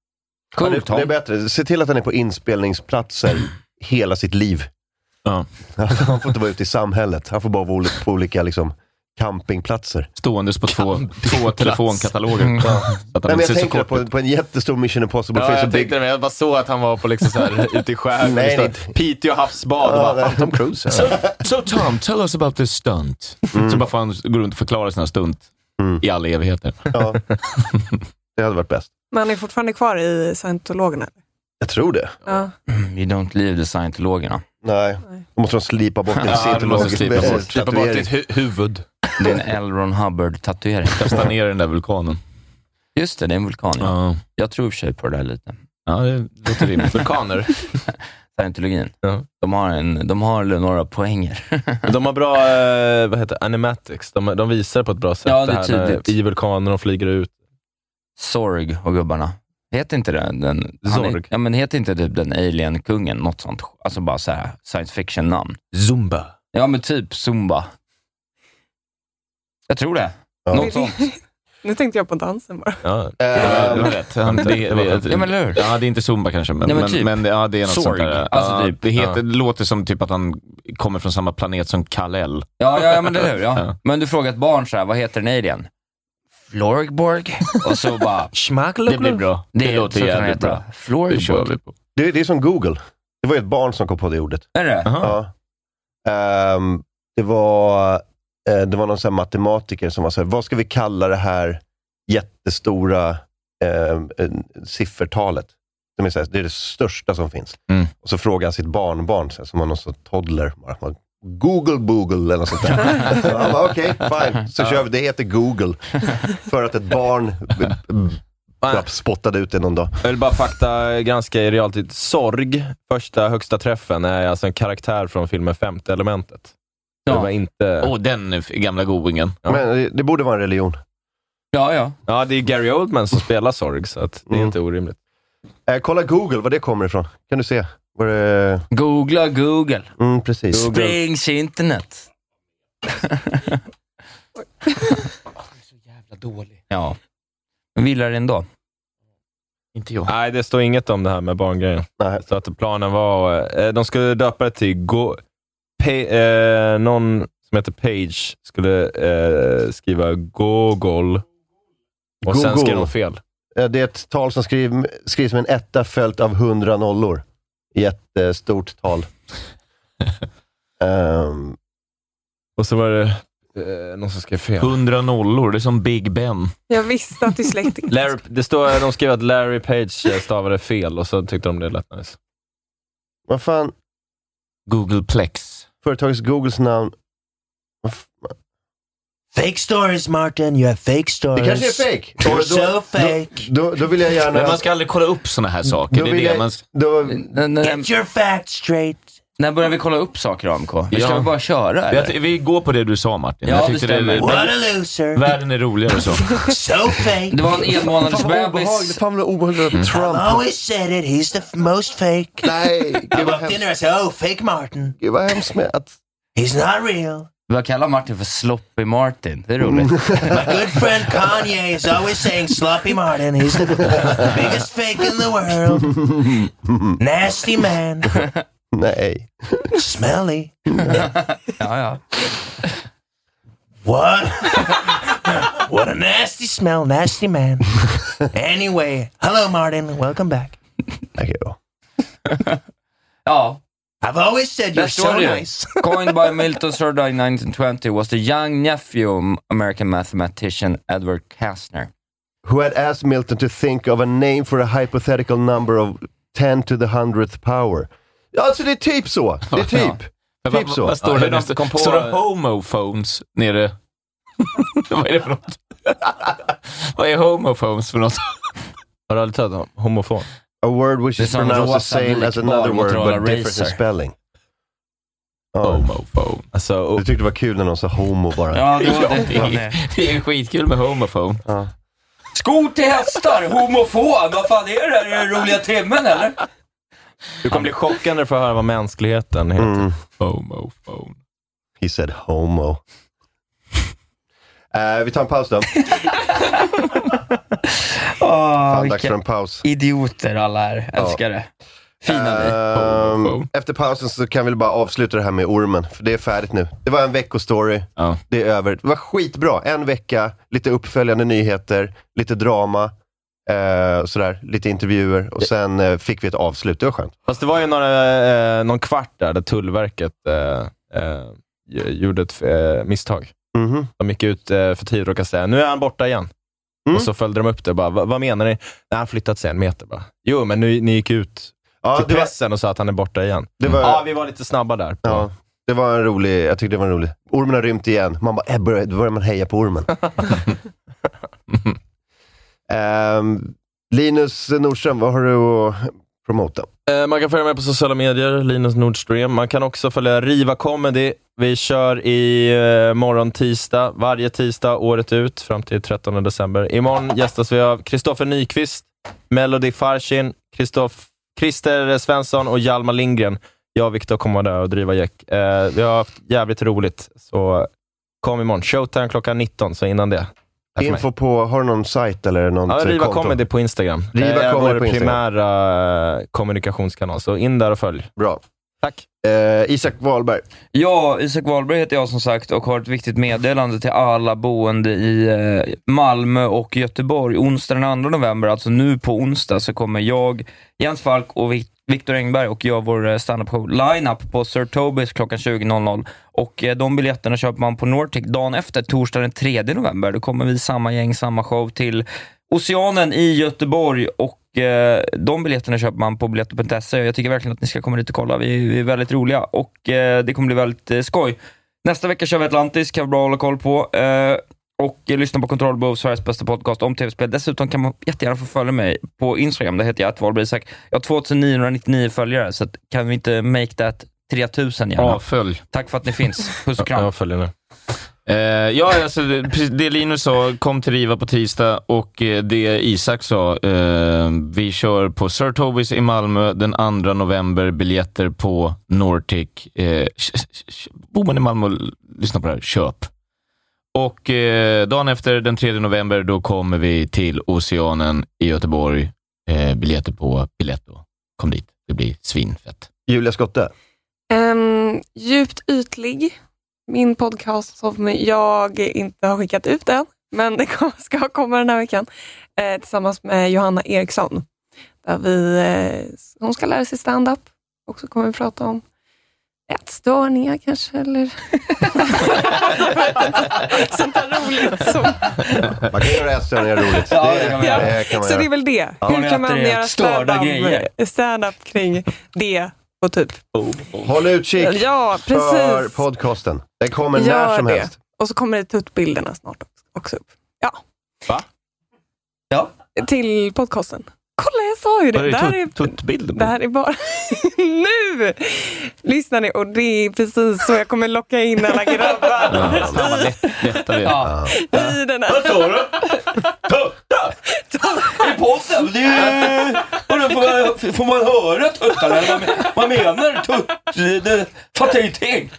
S5: Cool,
S4: Ja, det,
S5: Tom.
S4: det är bättre. Se till att han är på inspelningsplatser hela sitt liv. Han får inte vara ute i samhället. Han får bara vara ol- på olika liksom, campingplatser.
S9: Ståendes på två, två telefonkataloger.
S4: Mm.
S9: Så att han
S4: Nej, men
S9: inte ser
S4: jag
S9: så
S4: tänker
S9: kort
S4: på, på en jättestor Mission Impossible.
S7: Ja,
S4: film, så
S7: jag
S4: big-
S7: tänkte det, men jag bara såg att han var på liksom så här, ute i skärgården.
S4: Nej,
S7: Nej,
S4: det
S7: Piteå havsbad.
S4: Ja,
S7: och bara,
S4: nej.
S7: fan, Tom Cruise.
S9: So, so Tom, tell us about this stunt.
S4: Mm.
S9: Så bara får han gå runt och förklara sina stunt i all evigheter.
S4: Ja. Det hade varit bäst.
S6: men han är fortfarande kvar i scientologerna.
S4: Jag tror det.
S6: Ja.
S5: Mm, You don't leave the scientologerna.
S4: Nej, då måste de slipa bort en scientologisk eh, tatuering.
S9: huvud.
S5: Det är en L. Ron Hubbard-tatuering.
S9: Kasta ner den där vulkanen.
S5: Just det, det är en vulkan. Ja. Jag tror i och för sig på det där lite.
S9: Ja, det låter rimligt. Vulkaner.
S5: Scientologin. De, har en, de har några poänger.
S7: De har bra, eh, vad heter det, animatics. De, de visar på ett bra sätt
S5: Ja, det är
S7: här när-
S5: tydligt.
S7: i vulkanen de flyger ut.
S5: Sorg och gubbarna. Heter inte den, den han är-
S7: Zorg.
S5: Ja, men heter inte typ den alien-kungen något sånt? Alltså bara så här science fiction-namn.
S7: Zumba.
S5: Ja, men typ Zumba. Jag tror det. Något sånt. Eh,
S6: nu tänkte jag på dansen bara.
S9: Ja, det var- det var rätt. Han- det- det- det-
S5: Ja, men eller hur?
S9: Ja, det är inte Zumba kanske, men,
S5: Nej, men
S9: men,
S5: typ.
S9: men det- ja, det är något
S5: Sorg.
S9: sånt där.
S5: Alltså
S9: ja,
S5: typ.
S9: Det, heter,
S5: Ja.
S9: det låter som typ att han kommer från samma planet som Kal-El.
S5: Ja, ja, ja men eller hur? Ja.
S9: Ja.
S5: Men du frågar ett barn så här, vad heter den alien? Florgborg. Och så bara...
S9: Det blir bra.
S5: Det,
S9: Det låter
S5: så kan den
S9: jävligt
S5: heta.
S9: bra.
S5: Florgborg.
S9: Det kör vi på.
S4: Det, det är som Google. Det var ju ett barn som kom på det ordet.
S5: Är det?
S4: Ja. Ehm, det, var, eh, det var någon sån här matematiker som var så här, vad ska vi kalla det här jättestora ehm, eh, siffertalet? Som är så här, det är det största som finns.
S5: Mm.
S4: Och så frågade han sitt barnbarn, så här, som var någon sån toddler, bara, bara, Google Google eller något sånt där. Han bara, Okej, fine. Så kör vi. Det heter Google. För att ett barn b- b- Knappt spottade ut det någon dag.
S7: Jag vill bara fakta granska i realtid. Sorg, första högsta träffen, är alltså en karaktär från filmen Femte elementet. Det
S9: Ja.
S7: var inte...
S9: Åh, den gamla godingen.
S4: Men det borde vara en religion.
S5: Ja, ja.
S7: Ja, det är Gary Oldman som spelar Sorg, så att det är inte orimligt.
S4: Mm. Eh, kolla Google, var det kommer ifrån. Kan du se? Var det...
S5: Googla Google.
S4: Mm, precis.
S5: Springs internet.
S9: Dålig.
S5: Ja. Men vi gillar det ändå.
S9: Inte jag.
S7: Nej, det står inget om det här med barngrejen. Så att planen var... Eh, de skulle döpa det till... Go- Pe- eh, någon som heter Page skulle eh, skriva Gogol. Och sen
S4: Google.
S7: skrev de fel.
S4: Eh, Det är ett tal som skriv, skrivs med en etta följt av hundra nollor. Jättestort tal. Ehm,
S7: Och så var det eh, någon som skrev fel.
S9: 100 nollor, det är som Big Ben.
S6: Jag visste att dyslektiker...
S7: Larry, det står, de skrev att Larry Page eh, stavade fel och så tyckte de det lät nice.
S4: vad fan?
S9: Googleplex.
S4: Företagets Googles namn.
S16: Fake stories, Martin. You have fake stories.
S4: Det kanske är fake.
S16: You're so fake.
S4: Då, då, då vill jag gärna...
S9: Men man ska aldrig kolla upp såna här saker.
S4: Då
S9: det
S4: vill
S9: är det
S4: jag-
S9: man...
S5: Get
S16: your facts straight.
S5: När börjar vi kolla upp saker AMK? Vi ska
S9: Ja.
S5: väl bara köra eller?
S9: Vi, vi går på det du sa Martin.
S5: Ja,
S9: jag
S5: det
S9: tyckte
S5: stämmer. What a
S16: loser.
S9: Världen är roligare så.
S16: so fake.
S5: Det var en enmånaders
S4: Fan, vad obehagligt.
S5: bebis.
S4: Fan vad obehagligt.
S5: Mm.
S16: I've
S4: Trump.
S16: always said it. He's the f- most fake.
S4: Nej,
S16: I walked in there. I said, "Oh, fake Martin.
S4: Gud vad hemskt med att...
S16: He's not real."
S5: Vad kallar Martin för Sloppy Martin? Det är roligt.
S16: My good friend Kanye is always saying sloppy Martin. He's the biggest fake in the world. Nasty man.
S4: Nej.
S16: Smelly.
S5: ja, ja.
S16: What? what a nasty smell, nasty man. anyway, hello, Martin. Welcome back.
S4: Tack då.
S5: Ja.
S16: I've always said
S5: Där
S16: you're
S5: står
S16: so
S5: det ju.
S16: nice.
S5: Coined by Milton Surday 1920 was the young nephew of American mathematician Edward Kastner.
S4: Who had asked Milton to think of a name for a hypothetical number of 10 to the hundredth power. Ja, Alltså det är typ så. Det är typ. typ så.
S9: Vad står
S7: Ja,
S9: det?
S7: hur de
S9: nu?
S7: kom på-
S9: Står det homophones nere? Vad är det för något? Vad är homophones för något?
S7: Har du aldrig tagit dem? homofon?
S4: A word which
S7: Det är
S4: is
S7: som
S4: pronounced the
S7: rosa
S4: same as
S7: blickbar
S4: another word
S7: Motorola
S4: but different in
S7: Razr.
S4: spelling.
S9: Homofon.
S4: Du tyckte det var kul när någon sa homo bara.
S9: Ja, det var det. Det är skitkul med homofon.
S4: Ja.
S5: Skor till hästar, homofon. Vad fan är det här? Är det den roliga timmen eller?
S7: Du kommer bli chockad när du får höra vad mänskligheten heter.
S4: Mm.
S9: Homofon.
S4: He said homo. Eh, vi tar en paus då. Fan, dags för en paus.
S5: Idioter alla är. Älskar det. Fina ni.
S4: Ehm, Efter pausen så kan vi bara avsluta det här med ormen, för det är färdigt nu. Det var en veckostory, det är över. Det var skitbra. En vecka, lite uppföljande nyheter, lite drama, eh, sådär, lite intervjuer och sen eh, fick vi ett avslut. Det var skönt.
S7: Fast det var ju några, eh, någon kvart där, där Tullverket eh, eh, gj- gjorde ett eh, misstag. De gick ut eh, för tid och råkade säga nu är han borta igen.
S4: Mm.
S7: Och så följde de upp det och bara, "Va- vad menar ni? Nej, han flyttat sig en meter bara. Jo, men nu, ni gick ut till pressen och sa att han är borta igen.
S4: Det var-
S7: Ja, vi var lite snabba där. på-
S4: Ja, det var en rolig, jag tyckte det var en rolig. Ormen har rymt igen. Man bara, eh, börjar, då börjar man heja på ormen. Ehm, Linus Nordström, vad har du att promota?
S7: Eh, Man kan följa mig på sociala medier, Linus Nordström. Man kan också följa Riva Comedy. Vi kör i eh, morgon tisdag, varje tisdag året ut, fram till 13 december. Imorgon gästas vi av Kristoffer Nyqvist, Melody Farshin, Kristoff- Christer Svensson och Hjalmar Lindgren. Jag och Viktor kommer vara där och driva gäck. Eh, vi har haft jävligt roligt, så kom imorgon. Showtime klockan 19, så innan det. Tack för mig.
S4: Info på, har du någon sajt eller något
S7: Ja, Riva
S4: konto?
S7: Comedy på Instagram.
S4: Riva
S7: det är
S4: Comedy
S7: vår
S4: på Instagram.
S7: primära eh, kommunikationskanal, så in där och följ.
S4: Bra. Eh,
S7: Tack.
S4: Isak Wahlberg.
S5: Ja, Isak Wahlberg heter jag som sagt och har ett viktigt meddelande till alla boende i eh, Malmö och Göteborg. Onsdag den 2 november, alltså nu på onsdag, så kommer jag, Jens Falk och Vik- Viktor Engberg och gör vår eh, standup-show Lineup på Sir Tobis klockan 20.00. Och eh, de biljetterna köper man på Nortic dagen efter, torsdag den 3 november. Då kommer vi samma gäng, samma show till Oceanen i Göteborg och eh, de biljetterna köper man på biljetter.se. E. Jag tycker verkligen att ni ska komma dit och kolla. Vi, vi är väldigt roliga och eh, det kommer bli väldigt eh, skoj. Nästa vecka kör vi Atlantis, kan vara bra att hålla koll på. Eh, och eh, lyssna på Kontrollbehov, Sveriges bästa podcast om tv-spel. Dessutom kan man jättegärna få följa mig på Instagram. Där heter jag att Isak. Jag har 2999 följare, så att, kan vi inte make that 3000 gärna?
S9: Ja, följ.
S5: Tack för att ni finns. Puss och kram.
S9: Jag följer nu. Eh, ja, alltså, det, precis det Linus sa, kom till Riva på tisdag och eh, det Isak sa, eh, vi kör på Sir Tobis i Malmö den 2 november, biljetter på Nortic. Eh, sh- sh- sh- bor man i Malmö och l- lyssnar på det här, köp. Och eh, dagen efter, den 3 november, då kommer vi till Oceanen i Göteborg. Eh, biljetter på Biletto. Kom dit, det blir svinfett.
S4: Julia Skotte?
S6: Ehm, djupt ytlig. Min podcast som jag inte har skickat ut än, men det kom- ska komma den här veckan, eh, tillsammans med Johanna Eriksson. Där vi, eh, hon ska lära sig stand-up och så kommer vi prata om ätstörningar kanske, eller sånt där roligt. Som,
S4: Man kan göra ätstörningar roligt.
S6: Ja,
S4: det kan man göra. Det kan man
S6: så det är
S4: göra.
S6: väl det.
S4: Ja.
S6: Hur kan man
S4: Äter
S6: göra
S4: störda
S6: stand-up
S4: grejer.
S6: stand kring det och typ
S4: Håll utkik
S6: Ja, precis.
S4: för podcasten. Den kommer
S6: Gör
S4: när som
S6: det.
S4: helst.
S6: Och så kommer det tuttbilderna snart också upp. Ja.
S9: Va?
S4: Ja.
S6: Till podcasten. Kolla, jag sa ju det. det, här är, det här är bara... nu! Lyssnar ni? Och det är precis så jag kommer locka in alla grabbar
S9: Ja, fan vad lätt, lätta vi är.
S6: i den här.
S16: I podden? Det är, vadå, får, man, får man höra tuttarna? Vad, men- vad menar du? Tutt? Det, fattar ingenting.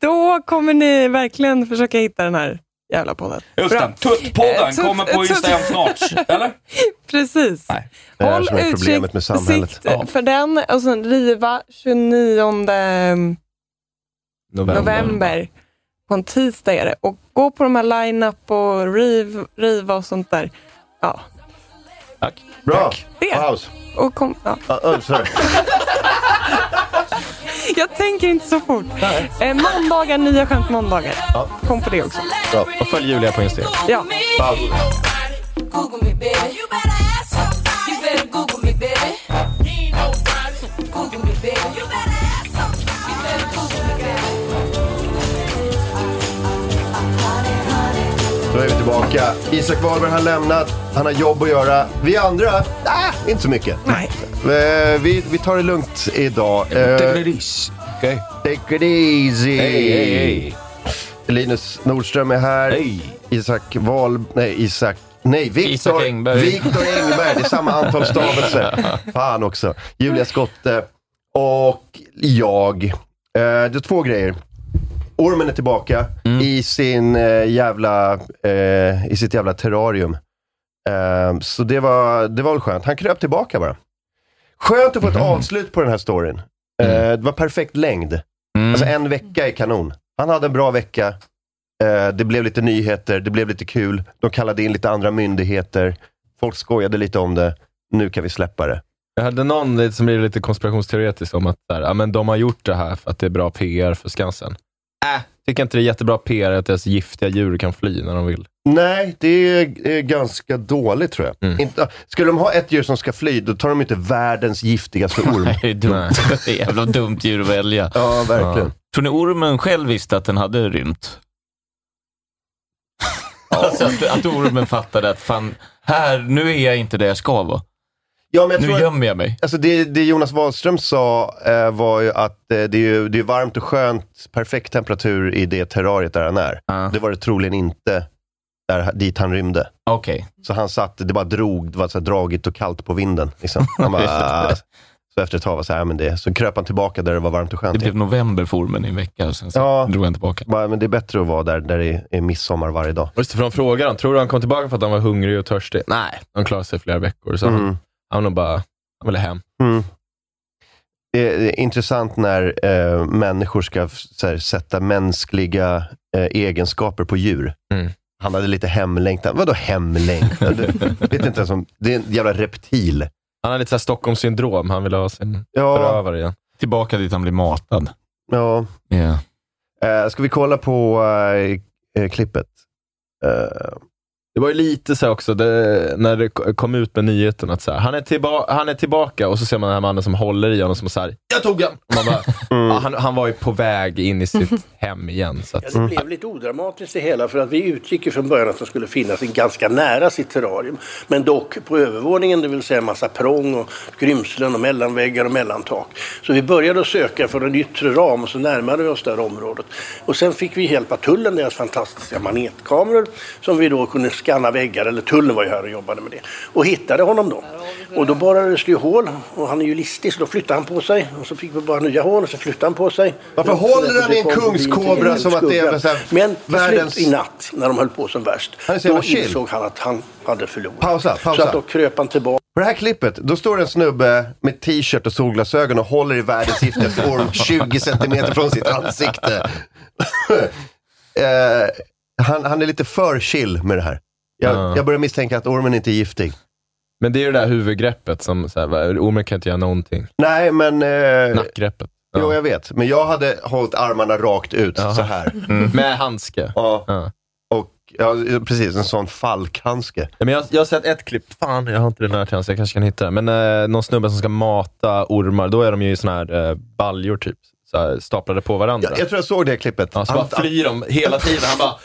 S6: Då kommer ni verkligen försöka hitta den här jävla podden.
S16: Just
S6: Bra.
S16: det, Tuttpodden
S6: Eh, tut-
S16: kommer på
S6: tut-
S16: Instagram snart, eller?
S6: Precis.
S4: Det är det här
S6: Håll
S4: som är problemet med samhället.
S6: utkik Eh, för den och sen Riva 29 november. På en tisdag är det. Och gå på de här line-up och riv, riva och sånt där. Ja.
S9: Tack.
S4: Bra.
S6: Det.
S4: Paus.
S6: Och kom, ja.
S4: Uh,
S14: oh,
S4: uh, sorry.
S6: Jag tänker inte så fort. Eh, måndagar, nya skämt måndagar. Kom på det också.
S7: Bra. Och följ Julia på Instagram.
S6: Ja.
S7: Paus.
S16: Google me baby. You better ask somebody. You better Google me baby. Google me baby. You better ask somebody. You better Google me baby.
S4: Då är vi tillbaka. Isak Wahlberg har lämnat, han har jobb att göra. Vi andra, ah, inte så mycket. Eh,
S6: Nej.
S4: Vi, vi tar det lugnt idag. Eh,
S7: Take it easy. Okay.
S4: Take it easy.
S7: Hey, hey, hey.
S4: Linus Nordström är här. Isak Wahl... Nej, Isak... Nej, Viktor
S7: Isak Engberg.
S4: Viktor Engberg. Det är samma antal stavelser. Fan också. Julia Skotte och jag. Eh, det är två grejer. Ormen är tillbaka
S7: Mm.
S4: i, sin, eh, jävla, eh, i sitt jävla terrarium. Eh, så det var, det var väl skönt. Han kröp tillbaka bara. Skönt att få ett avslut på den här storyn. Eh, det var perfekt längd. Alltså en vecka är kanon. Han hade en bra vecka. Eh, det blev lite nyheter, det blev lite kul. De kallade in lite andra myndigheter. Folk skojade lite om det. Nu kan vi släppa det.
S7: Jag hade någon lite- som blev lite konspirationsteoretisk om att så här, ja, men de har gjort det här för att det är bra PR för Skansen. Äh, tycker inte det är jättebra PR att deras giftiga djur kan fly när de vill.
S4: Nej, det är, är ganska dåligt tror jag. Inte, skulle de ha ett djur som ska fly, då tar de inte världens giftigaste orm.
S9: Det är dumt. Det är jävla dumt djur att välja.
S4: Ja, verkligen.
S9: Tror ni ormen själv visste att den hade rymt? alltså att, att ormen fattade att fan, här, nu är jag inte där jag ska vara.
S4: Ja, men jag
S9: nu
S4: tror att-
S9: gömmer jag mig.
S4: Alltså det, det Jonas Wahlström sa eh, var ju att eh, det är, ju, det är varmt och skönt, perfekt temperatur i det terrariet där han är. Det var det troligen inte där, dit han rymde.
S9: Okej.
S4: Så han satt, det bara drog, det var så här dragigt och kallt på vinden. Liksom. Han bara, "Ah." så efter ett tag var så här, "Ja, men det, så kröp han tillbaka där det var varmt och skönt.
S9: Det blev november för ormen i en vecka, och sen så
S4: Ja.
S9: drog han tillbaka.
S4: Bara, men det är bättre att vara där, där det är, är midsommar varje dag.
S7: Just det, för de frågar han, tror du han kom tillbaka för att han var hungrig och törstig? Nej, han klarade sig i flera veckor. Så
S4: Mm.
S7: han, han nog bara, han ville hem.
S4: Mm. Det är, det är intressant när eh, människor ska f- så här, sätta mänskliga eh, egenskaper på djur. Han hade lite hemlängtan. Vadå hemlängtan? Du, vet inte ens om, det är en jävla reptil.
S7: Han har lite så här Stockholmssyndrom, han ville ha sin
S4: Ja.
S7: förövare igen.
S9: Tillbaka dit han blir matad.
S4: Ja.
S9: Ja.
S4: Eh, ska vi kolla på eh, eh, klippet? Eh,
S7: Det var ju lite så här också, det, när det kom ut med nyheten att så här, han, är tillba- han är tillbaka och så ser man den här mannen som håller i honom som så här, jag tog den! Och man bara, ja, han, han var ju på väg in i sitt hem igen. Så
S17: Ja,
S7: att,
S17: det blev lite odramatiskt det hela för att vi utgick ju från början att det skulle finnas en ganska nära sitt terrarium. Men dock på övervåningen, det vill säga en massa prång och skrymslen och mellanväggar och mellantak. Så vi började att söka för en yttre ram och så närmade vi oss det här området. Och sen fick vi hjälp av tullen, deras fantastiska manetkameror, som vi då kunde skanna väggar, eller tullen var ju här och jobbade med det, och hittade honom då. Och då borrades det ju hål och han är ju listig så då flyttade han på sig och så fick vi bara nya hål och så flyttade han på sig.
S2: Varför
S17: Och så
S2: håller
S17: därför
S2: han i en
S17: kom vi
S2: kungskobra
S17: till
S2: som att det är
S17: skuggan?
S2: så här
S17: Men till
S2: världens-
S17: slut i natt, när de höll på som värst,
S4: Han är så
S17: då
S4: jävla chill.
S17: insåg han att han hade förlorat.
S4: Pausa, pausa.
S17: Så att då kröp han tillbaka.
S4: På det här klippet, då står en snubbe med t-shirt och solglasögon och håller i världens giftigaste orm 20 centimeter från sitt ansikte. Eh, han, han är lite för chill med det här. Jag,
S7: Ja.
S4: jag börjar misstänka att ormen inte är giftig.
S7: men det är ju det där huvudgreppet som, så här, va, ormen kan inte göra någonting.
S4: Nej, men... Eh,
S7: Nackgreppet.
S4: Jo, jag vet. Men jag hade hållit armarna rakt ut så här.
S7: Mm. Med handske.
S4: Ja. Och, ja, precis. En sån falkhandske.
S7: Ja, men jag, jag har sett ett klipp, fan jag har inte det nära till hands, jag kanske kan hitta det. Men eh, någon snubbe som ska mata ormar, då är de ju i såna här eh, baljor typ. Så här, staplade på varandra.
S4: Jag tror jag såg det klippet.
S7: Ja, så bara flyr de hela tiden. Han bara, "Ah,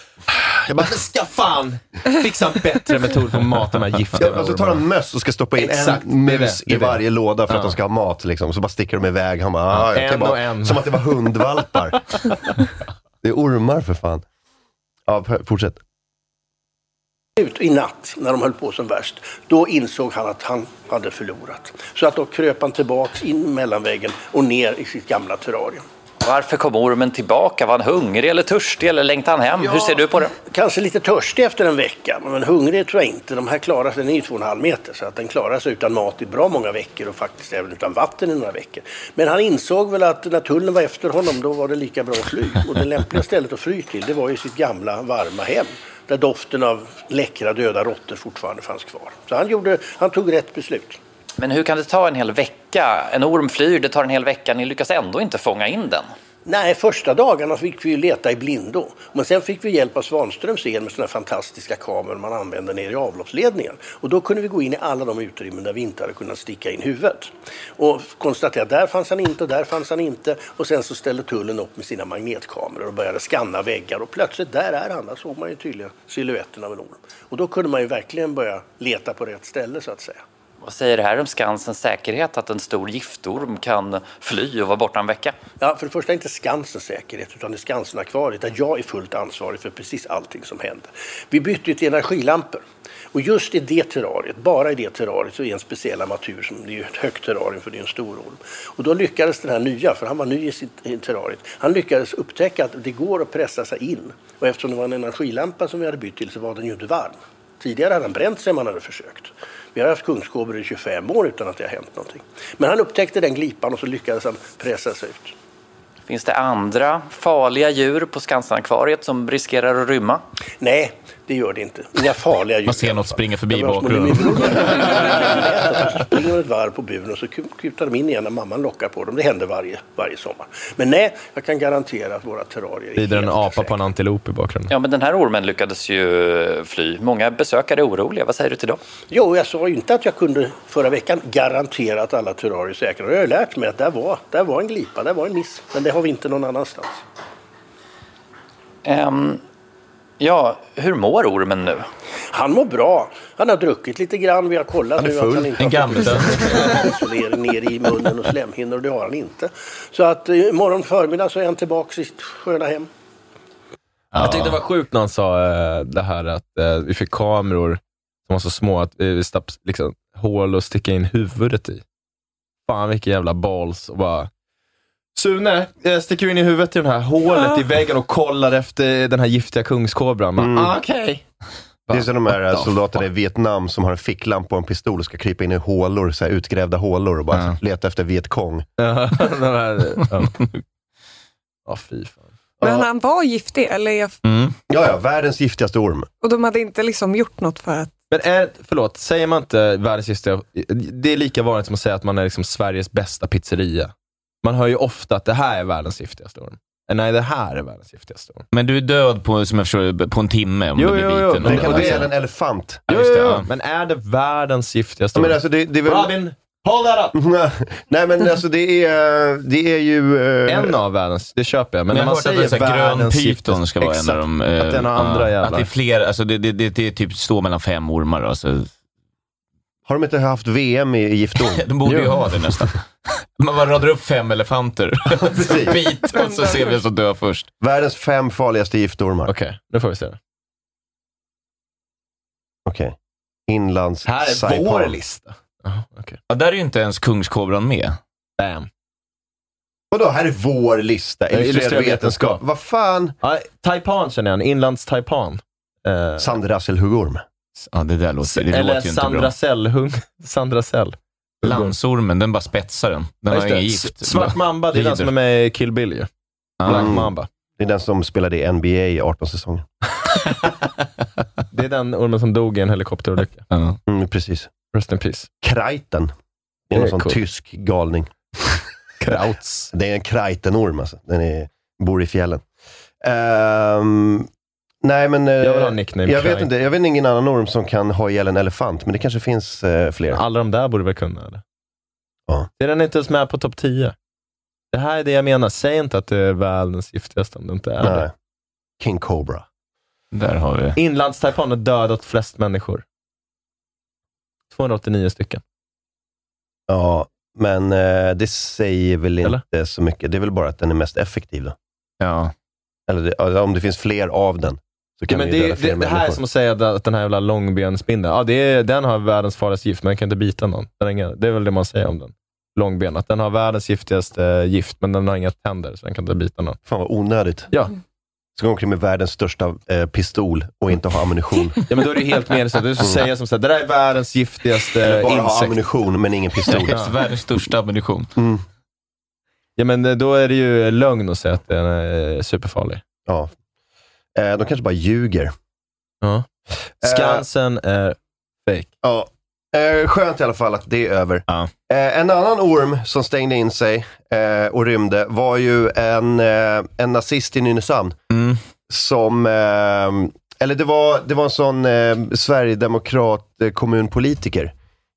S7: jag bara, men ska fan fixa en bättre metod för att mata de här giftiga
S4: Ja, och så tar de möss och ska stoppa in
S7: Exakt,
S4: en
S7: det är
S4: mus
S7: det, det är
S4: i
S7: det.
S4: varje låda för att
S7: Ja.
S4: de ska ha mat. Liksom. Så bara sticker de iväg. Han bara, ah,
S7: Ja,
S4: jag
S7: en
S4: kan bara,
S7: och en.
S4: Som att det var hundvalpar. det är ormar för fan. Ja, f- fortsätt.
S17: Ut i natt, när de höll på som värst, då insåg han att han hade förlorat. Så att då kröp han tillbaks in mellanväggen och ner i sitt gamla terrarium.
S18: Varför kom ormen tillbaka? Var han hungrig eller törstig eller längtade han hem? Hur ser du på det?
S17: Kanske lite törstig efter en vecka, men hungrig tror jag inte. De här klarar sig, den är ju två och en halv meter, så att den klarar sig utan mat i bra många veckor och faktiskt även utan vatten i några veckor. Men han insåg väl att när tullen var efter honom, då var det lika bra att fly. Och det lämpliga stället att fly till, det var ju sitt gamla varma hem. Där doften av läckra döda råttor fortfarande fanns kvar. Så han, gjorde, han tog rätt beslut.
S18: Men hur kan det ta en hel vecka? En orm flyr, det tar en hel vecka. Ni lyckas ändå inte fånga in den.
S17: Nej, första dagarna fick vi ju leta i blindo. Men sen fick vi hjälp av Svanströms el med sådana fantastiska kameror man använder nere i avloppsledningen. Och då kunde vi gå in i alla de utrymmen där vi inte hade kunnat sticka in huvudet. Och konstatera att där fanns han inte och där fanns han inte. Och sen så ställde tullen upp med sina magnetkameror och började skanna väggar. Och plötsligt, där är han. Där såg man ju tydligen siluetten av en orm. Och då kunde man ju verkligen börja leta på rätt ställe så att säga.
S18: Vad säger det här om Skansens säkerhet att en stor giftorm kan fly och vara borta en vecka?
S17: Ja, för det första är inte Skansens säkerhet, utan det är Skansenakvariet där jag är fullt ansvarig för precis allting som händer. Vi bytte ju till energilampor. Och just i det terrariet, bara i det terrariet, så är en speciell armatur som det är ju ett högt terrarium för det är en stor orm. Och då lyckades den här nya, för han var ny i sitt i terrariet, han lyckades upptäcka att det går att pressa sig in. Och eftersom det var en energilampa som vi hade bytt till så var den ju inte varm. Tidigare hade han bränt sig om han hade försökt. Vi har haft kungskobror i 25 år utan att det har hänt någonting. Men han upptäckte den glipan och så lyckades han pressa sig ut.
S18: Finns det andra farliga djur på Skansenakvariet som riskerar att rymma?
S17: Nej, det gör det inte. Inga farliga djur.
S18: Man ser något springa förbi i
S17: Så springer de ett varv på buren och så ku- kutar de in igen när mamman lockar på dem. Det händer varje, varje sommar. Men nej, jag kan garantera att våra terrarier är
S7: Lider en apa på en antilop i bakgrunden.
S18: Ja, men den här ormen lyckades ju fly. Många besökare är oroliga. Vad säger du till dem?
S17: Jo, jag sa ju inte att jag kunde förra veckan garantera att alla terrarier är säkra. Och Jag har ju lärt mig att där var, där var en glipa, där var en miss. Men det har vi inte någon annanstans.
S18: Ehm, ja, hur mår ormen nu?
S17: Han mår bra. Han har druckit lite grann. Vi har kollat
S18: Han är
S17: nu att han
S18: full.
S17: inte
S18: En
S17: har fått
S18: gammal.
S17: isolering ner i munnen och slemhinnor. och Det har han inte. Så att eh, imorgon förmiddag så är han tillbaka i sitt sköna hem.
S7: Jag tyckte det var sjukt när han sa eh, det här att eh, vi fick kameror som var så små att eh, vi stapp liksom, hål att sticka in huvudet i. Fan vilken jävla balls och bara Sune, jag sticker in i huvudet i det här hålet i väggen och kollar efter den här giftiga kungskobran.
S4: Mm.
S7: Bara, "Ah, Okej.
S4: Det är som de här
S7: What the
S4: soldaterna i Vietnam som har en ficklampa och en pistol och ska krypa in i hålor, så här utgrävda hålor och bara leta efter vietkong.
S7: Ja, de här, ja. Ja, fy fan.
S6: Men han var giftig, eller jag,
S7: Mm.
S4: Ja, ja, världens giftigaste orm.
S6: och de hade inte liksom gjort något för att...
S7: Men är, förlåt, säger man inte världens giftiga... Det är lika vanligt som att säga att man är liksom Sveriges bästa pizzeria. Man hör ju ofta att det här är världens giftigaste orm. Nej, det här är världens giftigaste orm.
S9: Men du är död på, som jag förstår, på en timme om
S7: Jo,
S9: du blir
S7: jo,
S9: biten.
S7: jo.
S9: Om
S7: Den
S9: du-
S7: kan
S9: alltså-
S7: dö
S4: En elefant.
S7: Ja, just det, ja. Men är det världens giftigaste
S4: Ja, men
S7: orm?
S4: alltså, det- det är väl-
S7: Robin, hold that up!
S4: Nej men alltså det är, det är ju... eh,
S7: En av världens, det köper jag. Men,
S9: Men jag
S7: när man
S9: har hört att
S7: säger
S9: det är så här grön
S7: världens
S9: pyton ska vara en
S7: exakt,
S9: av dem. eh,
S7: Att den har andra
S9: ja,
S7: jävlar.
S9: Att det är fler, alltså det, det, det, det är typ står mellan fem ormar. Alltså.
S4: Har de inte haft VM i giftorm?
S9: De borde ju ha det nästan. Man bara radar upp fem elefanter. Bit och så ser vi vem som dör först.
S4: Världens fem farligaste giftormar.
S7: Okej, nu får vi se.
S4: Okej. Inlands
S9: Här är
S4: Saipan.
S9: vår lista. Ja, där är ju inte ens kungskobran med.
S7: Bam.
S4: Vadå, här är vår lista?
S7: Illustrerad
S4: Illustrerad
S7: vetenskap.
S4: vetenskap. Vad fan?
S7: Ja, taipan känner jag, en inlands-taipan. Eh,
S4: Sandrasselhuggorm.
S9: Ja, det där låter, det
S7: Eller
S9: låter ju inte
S7: Sandra
S9: bra.
S7: Sellhung. Sandra Sell.
S9: Landsormen, den bara spetsar den. Den
S7: Ja,
S9: har
S7: just det.
S9: ingen gift.
S7: Svart mamba, det är den som är med i Kill Bill ju. Black Mamba.
S4: Mm. Det är den som spelade i NBA i 18 säsonger.
S7: Det är den ormen som dog i en helikopterolycka.
S4: Mm, precis.
S7: Rest in peace.
S4: Kreiten. Det är
S7: Det
S4: någon
S7: är
S4: sån
S7: coolt.
S4: tysk galning.
S7: Krauts.
S4: Det är en kreitenorm alltså. Den är, bor i fjällen. Ehm, nej men... eh,
S7: Jag vill ha en nickname,
S4: Jag vet,
S7: Kreit.
S4: inte, jag vet ingen annan orm som kan ha ihjäl en elefant, men det kanske finns eh, fler.
S7: Alla de där borde väl kunna, eller?
S4: Ja.
S7: Det är den inte ens med på topp 10. Det här är det jag menar. Säg inte att det är världens giftigaste om det inte är
S4: Nej.
S7: det.
S4: King Cobra.
S9: Där har vi.
S7: Inlandstaipan har dödat flest människor. 289 stycken.
S4: Ja, men eh, det säger väl inte så mycket. Det är väl bara att den är mest effektiv då.
S9: Ja.
S4: Eller det, alltså, om det finns fler av den, så kan
S7: Ja, men
S4: vi ju
S7: det,
S4: döda
S7: är-
S4: fler
S7: det, det här är
S4: människor.
S7: som att säga att den här jävla långbensspindeln, ja, det är, den har världens farligaste gift, men den kan inte bita någon. Den har inga, det är väl det man säger om den. Långben, att den har världens giftigaste eh, gift, men den har inga tänder, så den kan inte bita någon.
S4: Fan vad onödigt.
S7: Ja.
S4: Ska gå omkring med världens största eh, pistol och inte ha ammunition.
S7: Ja, men då är det helt meningslöst. Du ska
S4: Mm.
S7: säga som så här, det där är världens giftigaste
S4: Eller bara ha
S7: insekt.
S4: ammunition, men ingen pistol.
S7: Ja.
S9: Världens största ammunition.
S4: Mm.
S7: Ja, men eh, då är det ju lögn att säga att den är eh, superfarlig.
S4: Ja. Eh, de kanske bara ljuger. Eh,
S7: Ja.
S4: Mm.
S7: Skansen är fake.
S4: Ja. Eh, skönt i alla fall att det är över. Eh, en annan orm som stängde in sig eh, och rymde var ju en, eh, en nazist i Nynäshamn. Som, eh, eller det var, det var en sån eh, sverigedemokrat eh, kommunpolitiker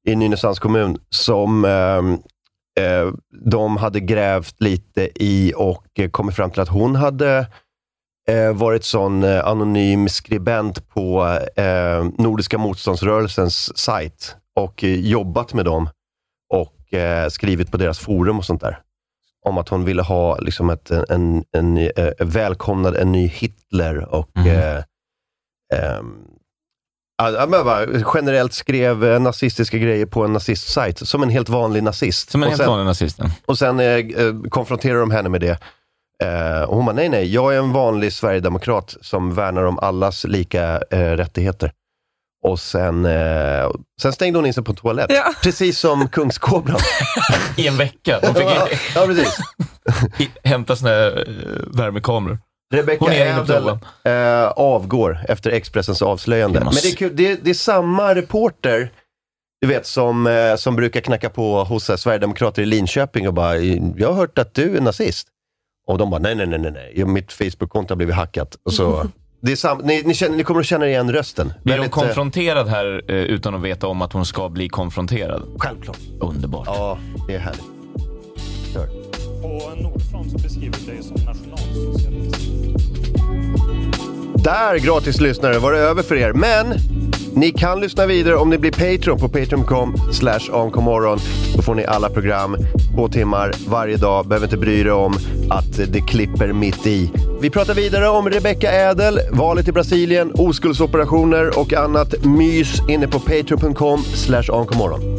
S4: i Nynäshamns kommun som eh, eh, de hade grävt lite i och eh, kommit fram till att hon hade eh, varit sån eh, anonym skribent på eh, Nordiska motståndsrörelsens sajt och eh, jobbat med dem och eh, skrivit på deras forum och sånt där. Om att hon ville ha liksom ett, en, en, eh, välkomnad en ny Hitler och eh, ehm, ja, ja, men bara, generellt skrev eh, nazistiska grejer på en nazistsajt, som en helt vanlig nazist.
S9: Som en
S4: Och
S9: helt
S4: sen-
S9: vanlig nazist. ja.
S4: och sen eh, eh, konfronterar de henne med det. Eh, och hon bara, nej, nej, jag är en vanlig sverigedemokrat som värnar om allas lika eh, rättigheter. Och sen, eh, sen stängde hon in sig på en toalett. Precis som kungskobran.
S9: I en vecka. Hon fick
S4: ja, ja, precis.
S9: hämta såna här eh, värmekameror.
S4: Rebecca
S9: Hon är inne på
S4: Ädel
S9: toan.
S4: eh, avgår efter Expressens avslöjande.
S9: Det måste-
S4: Men det är, kul, det, det är samma reporter du vet, som, eh, som brukar knacka på hos så här, Sverigedemokrater i Linköping och bara "Eh, “Jag har hört att du är nazist”. Och de bara “Nej, nej, nej, nej, nej. mitt Facebook-konto har blivit hackat”. Och så, det är sam- ni, ni, känner, ni kommer att känna igen rösten.
S9: Blir hon
S4: Väldigt, eh,
S9: konfronterad här eh, utan att veta om att hon ska bli konfronterad?
S4: Självklart.
S9: Underbart.
S4: Ja, det är härligt. Kör.
S19: På Nordfront så beskriver vi dig som nationalsocialist.
S4: Där, gratis lyssnare, var det över för er. Men ni kan lyssna vidare om ni blir Patreon på patreon.com slash amkomorron. Då får ni alla program, två timmar varje dag. Behöver inte bry er om att det klipper mitt i. Vi pratar vidare om Rebecca Ädel, valet i Brasilien, oskuldsoperationer och annat mys inne på patreon.com slash amkomorron.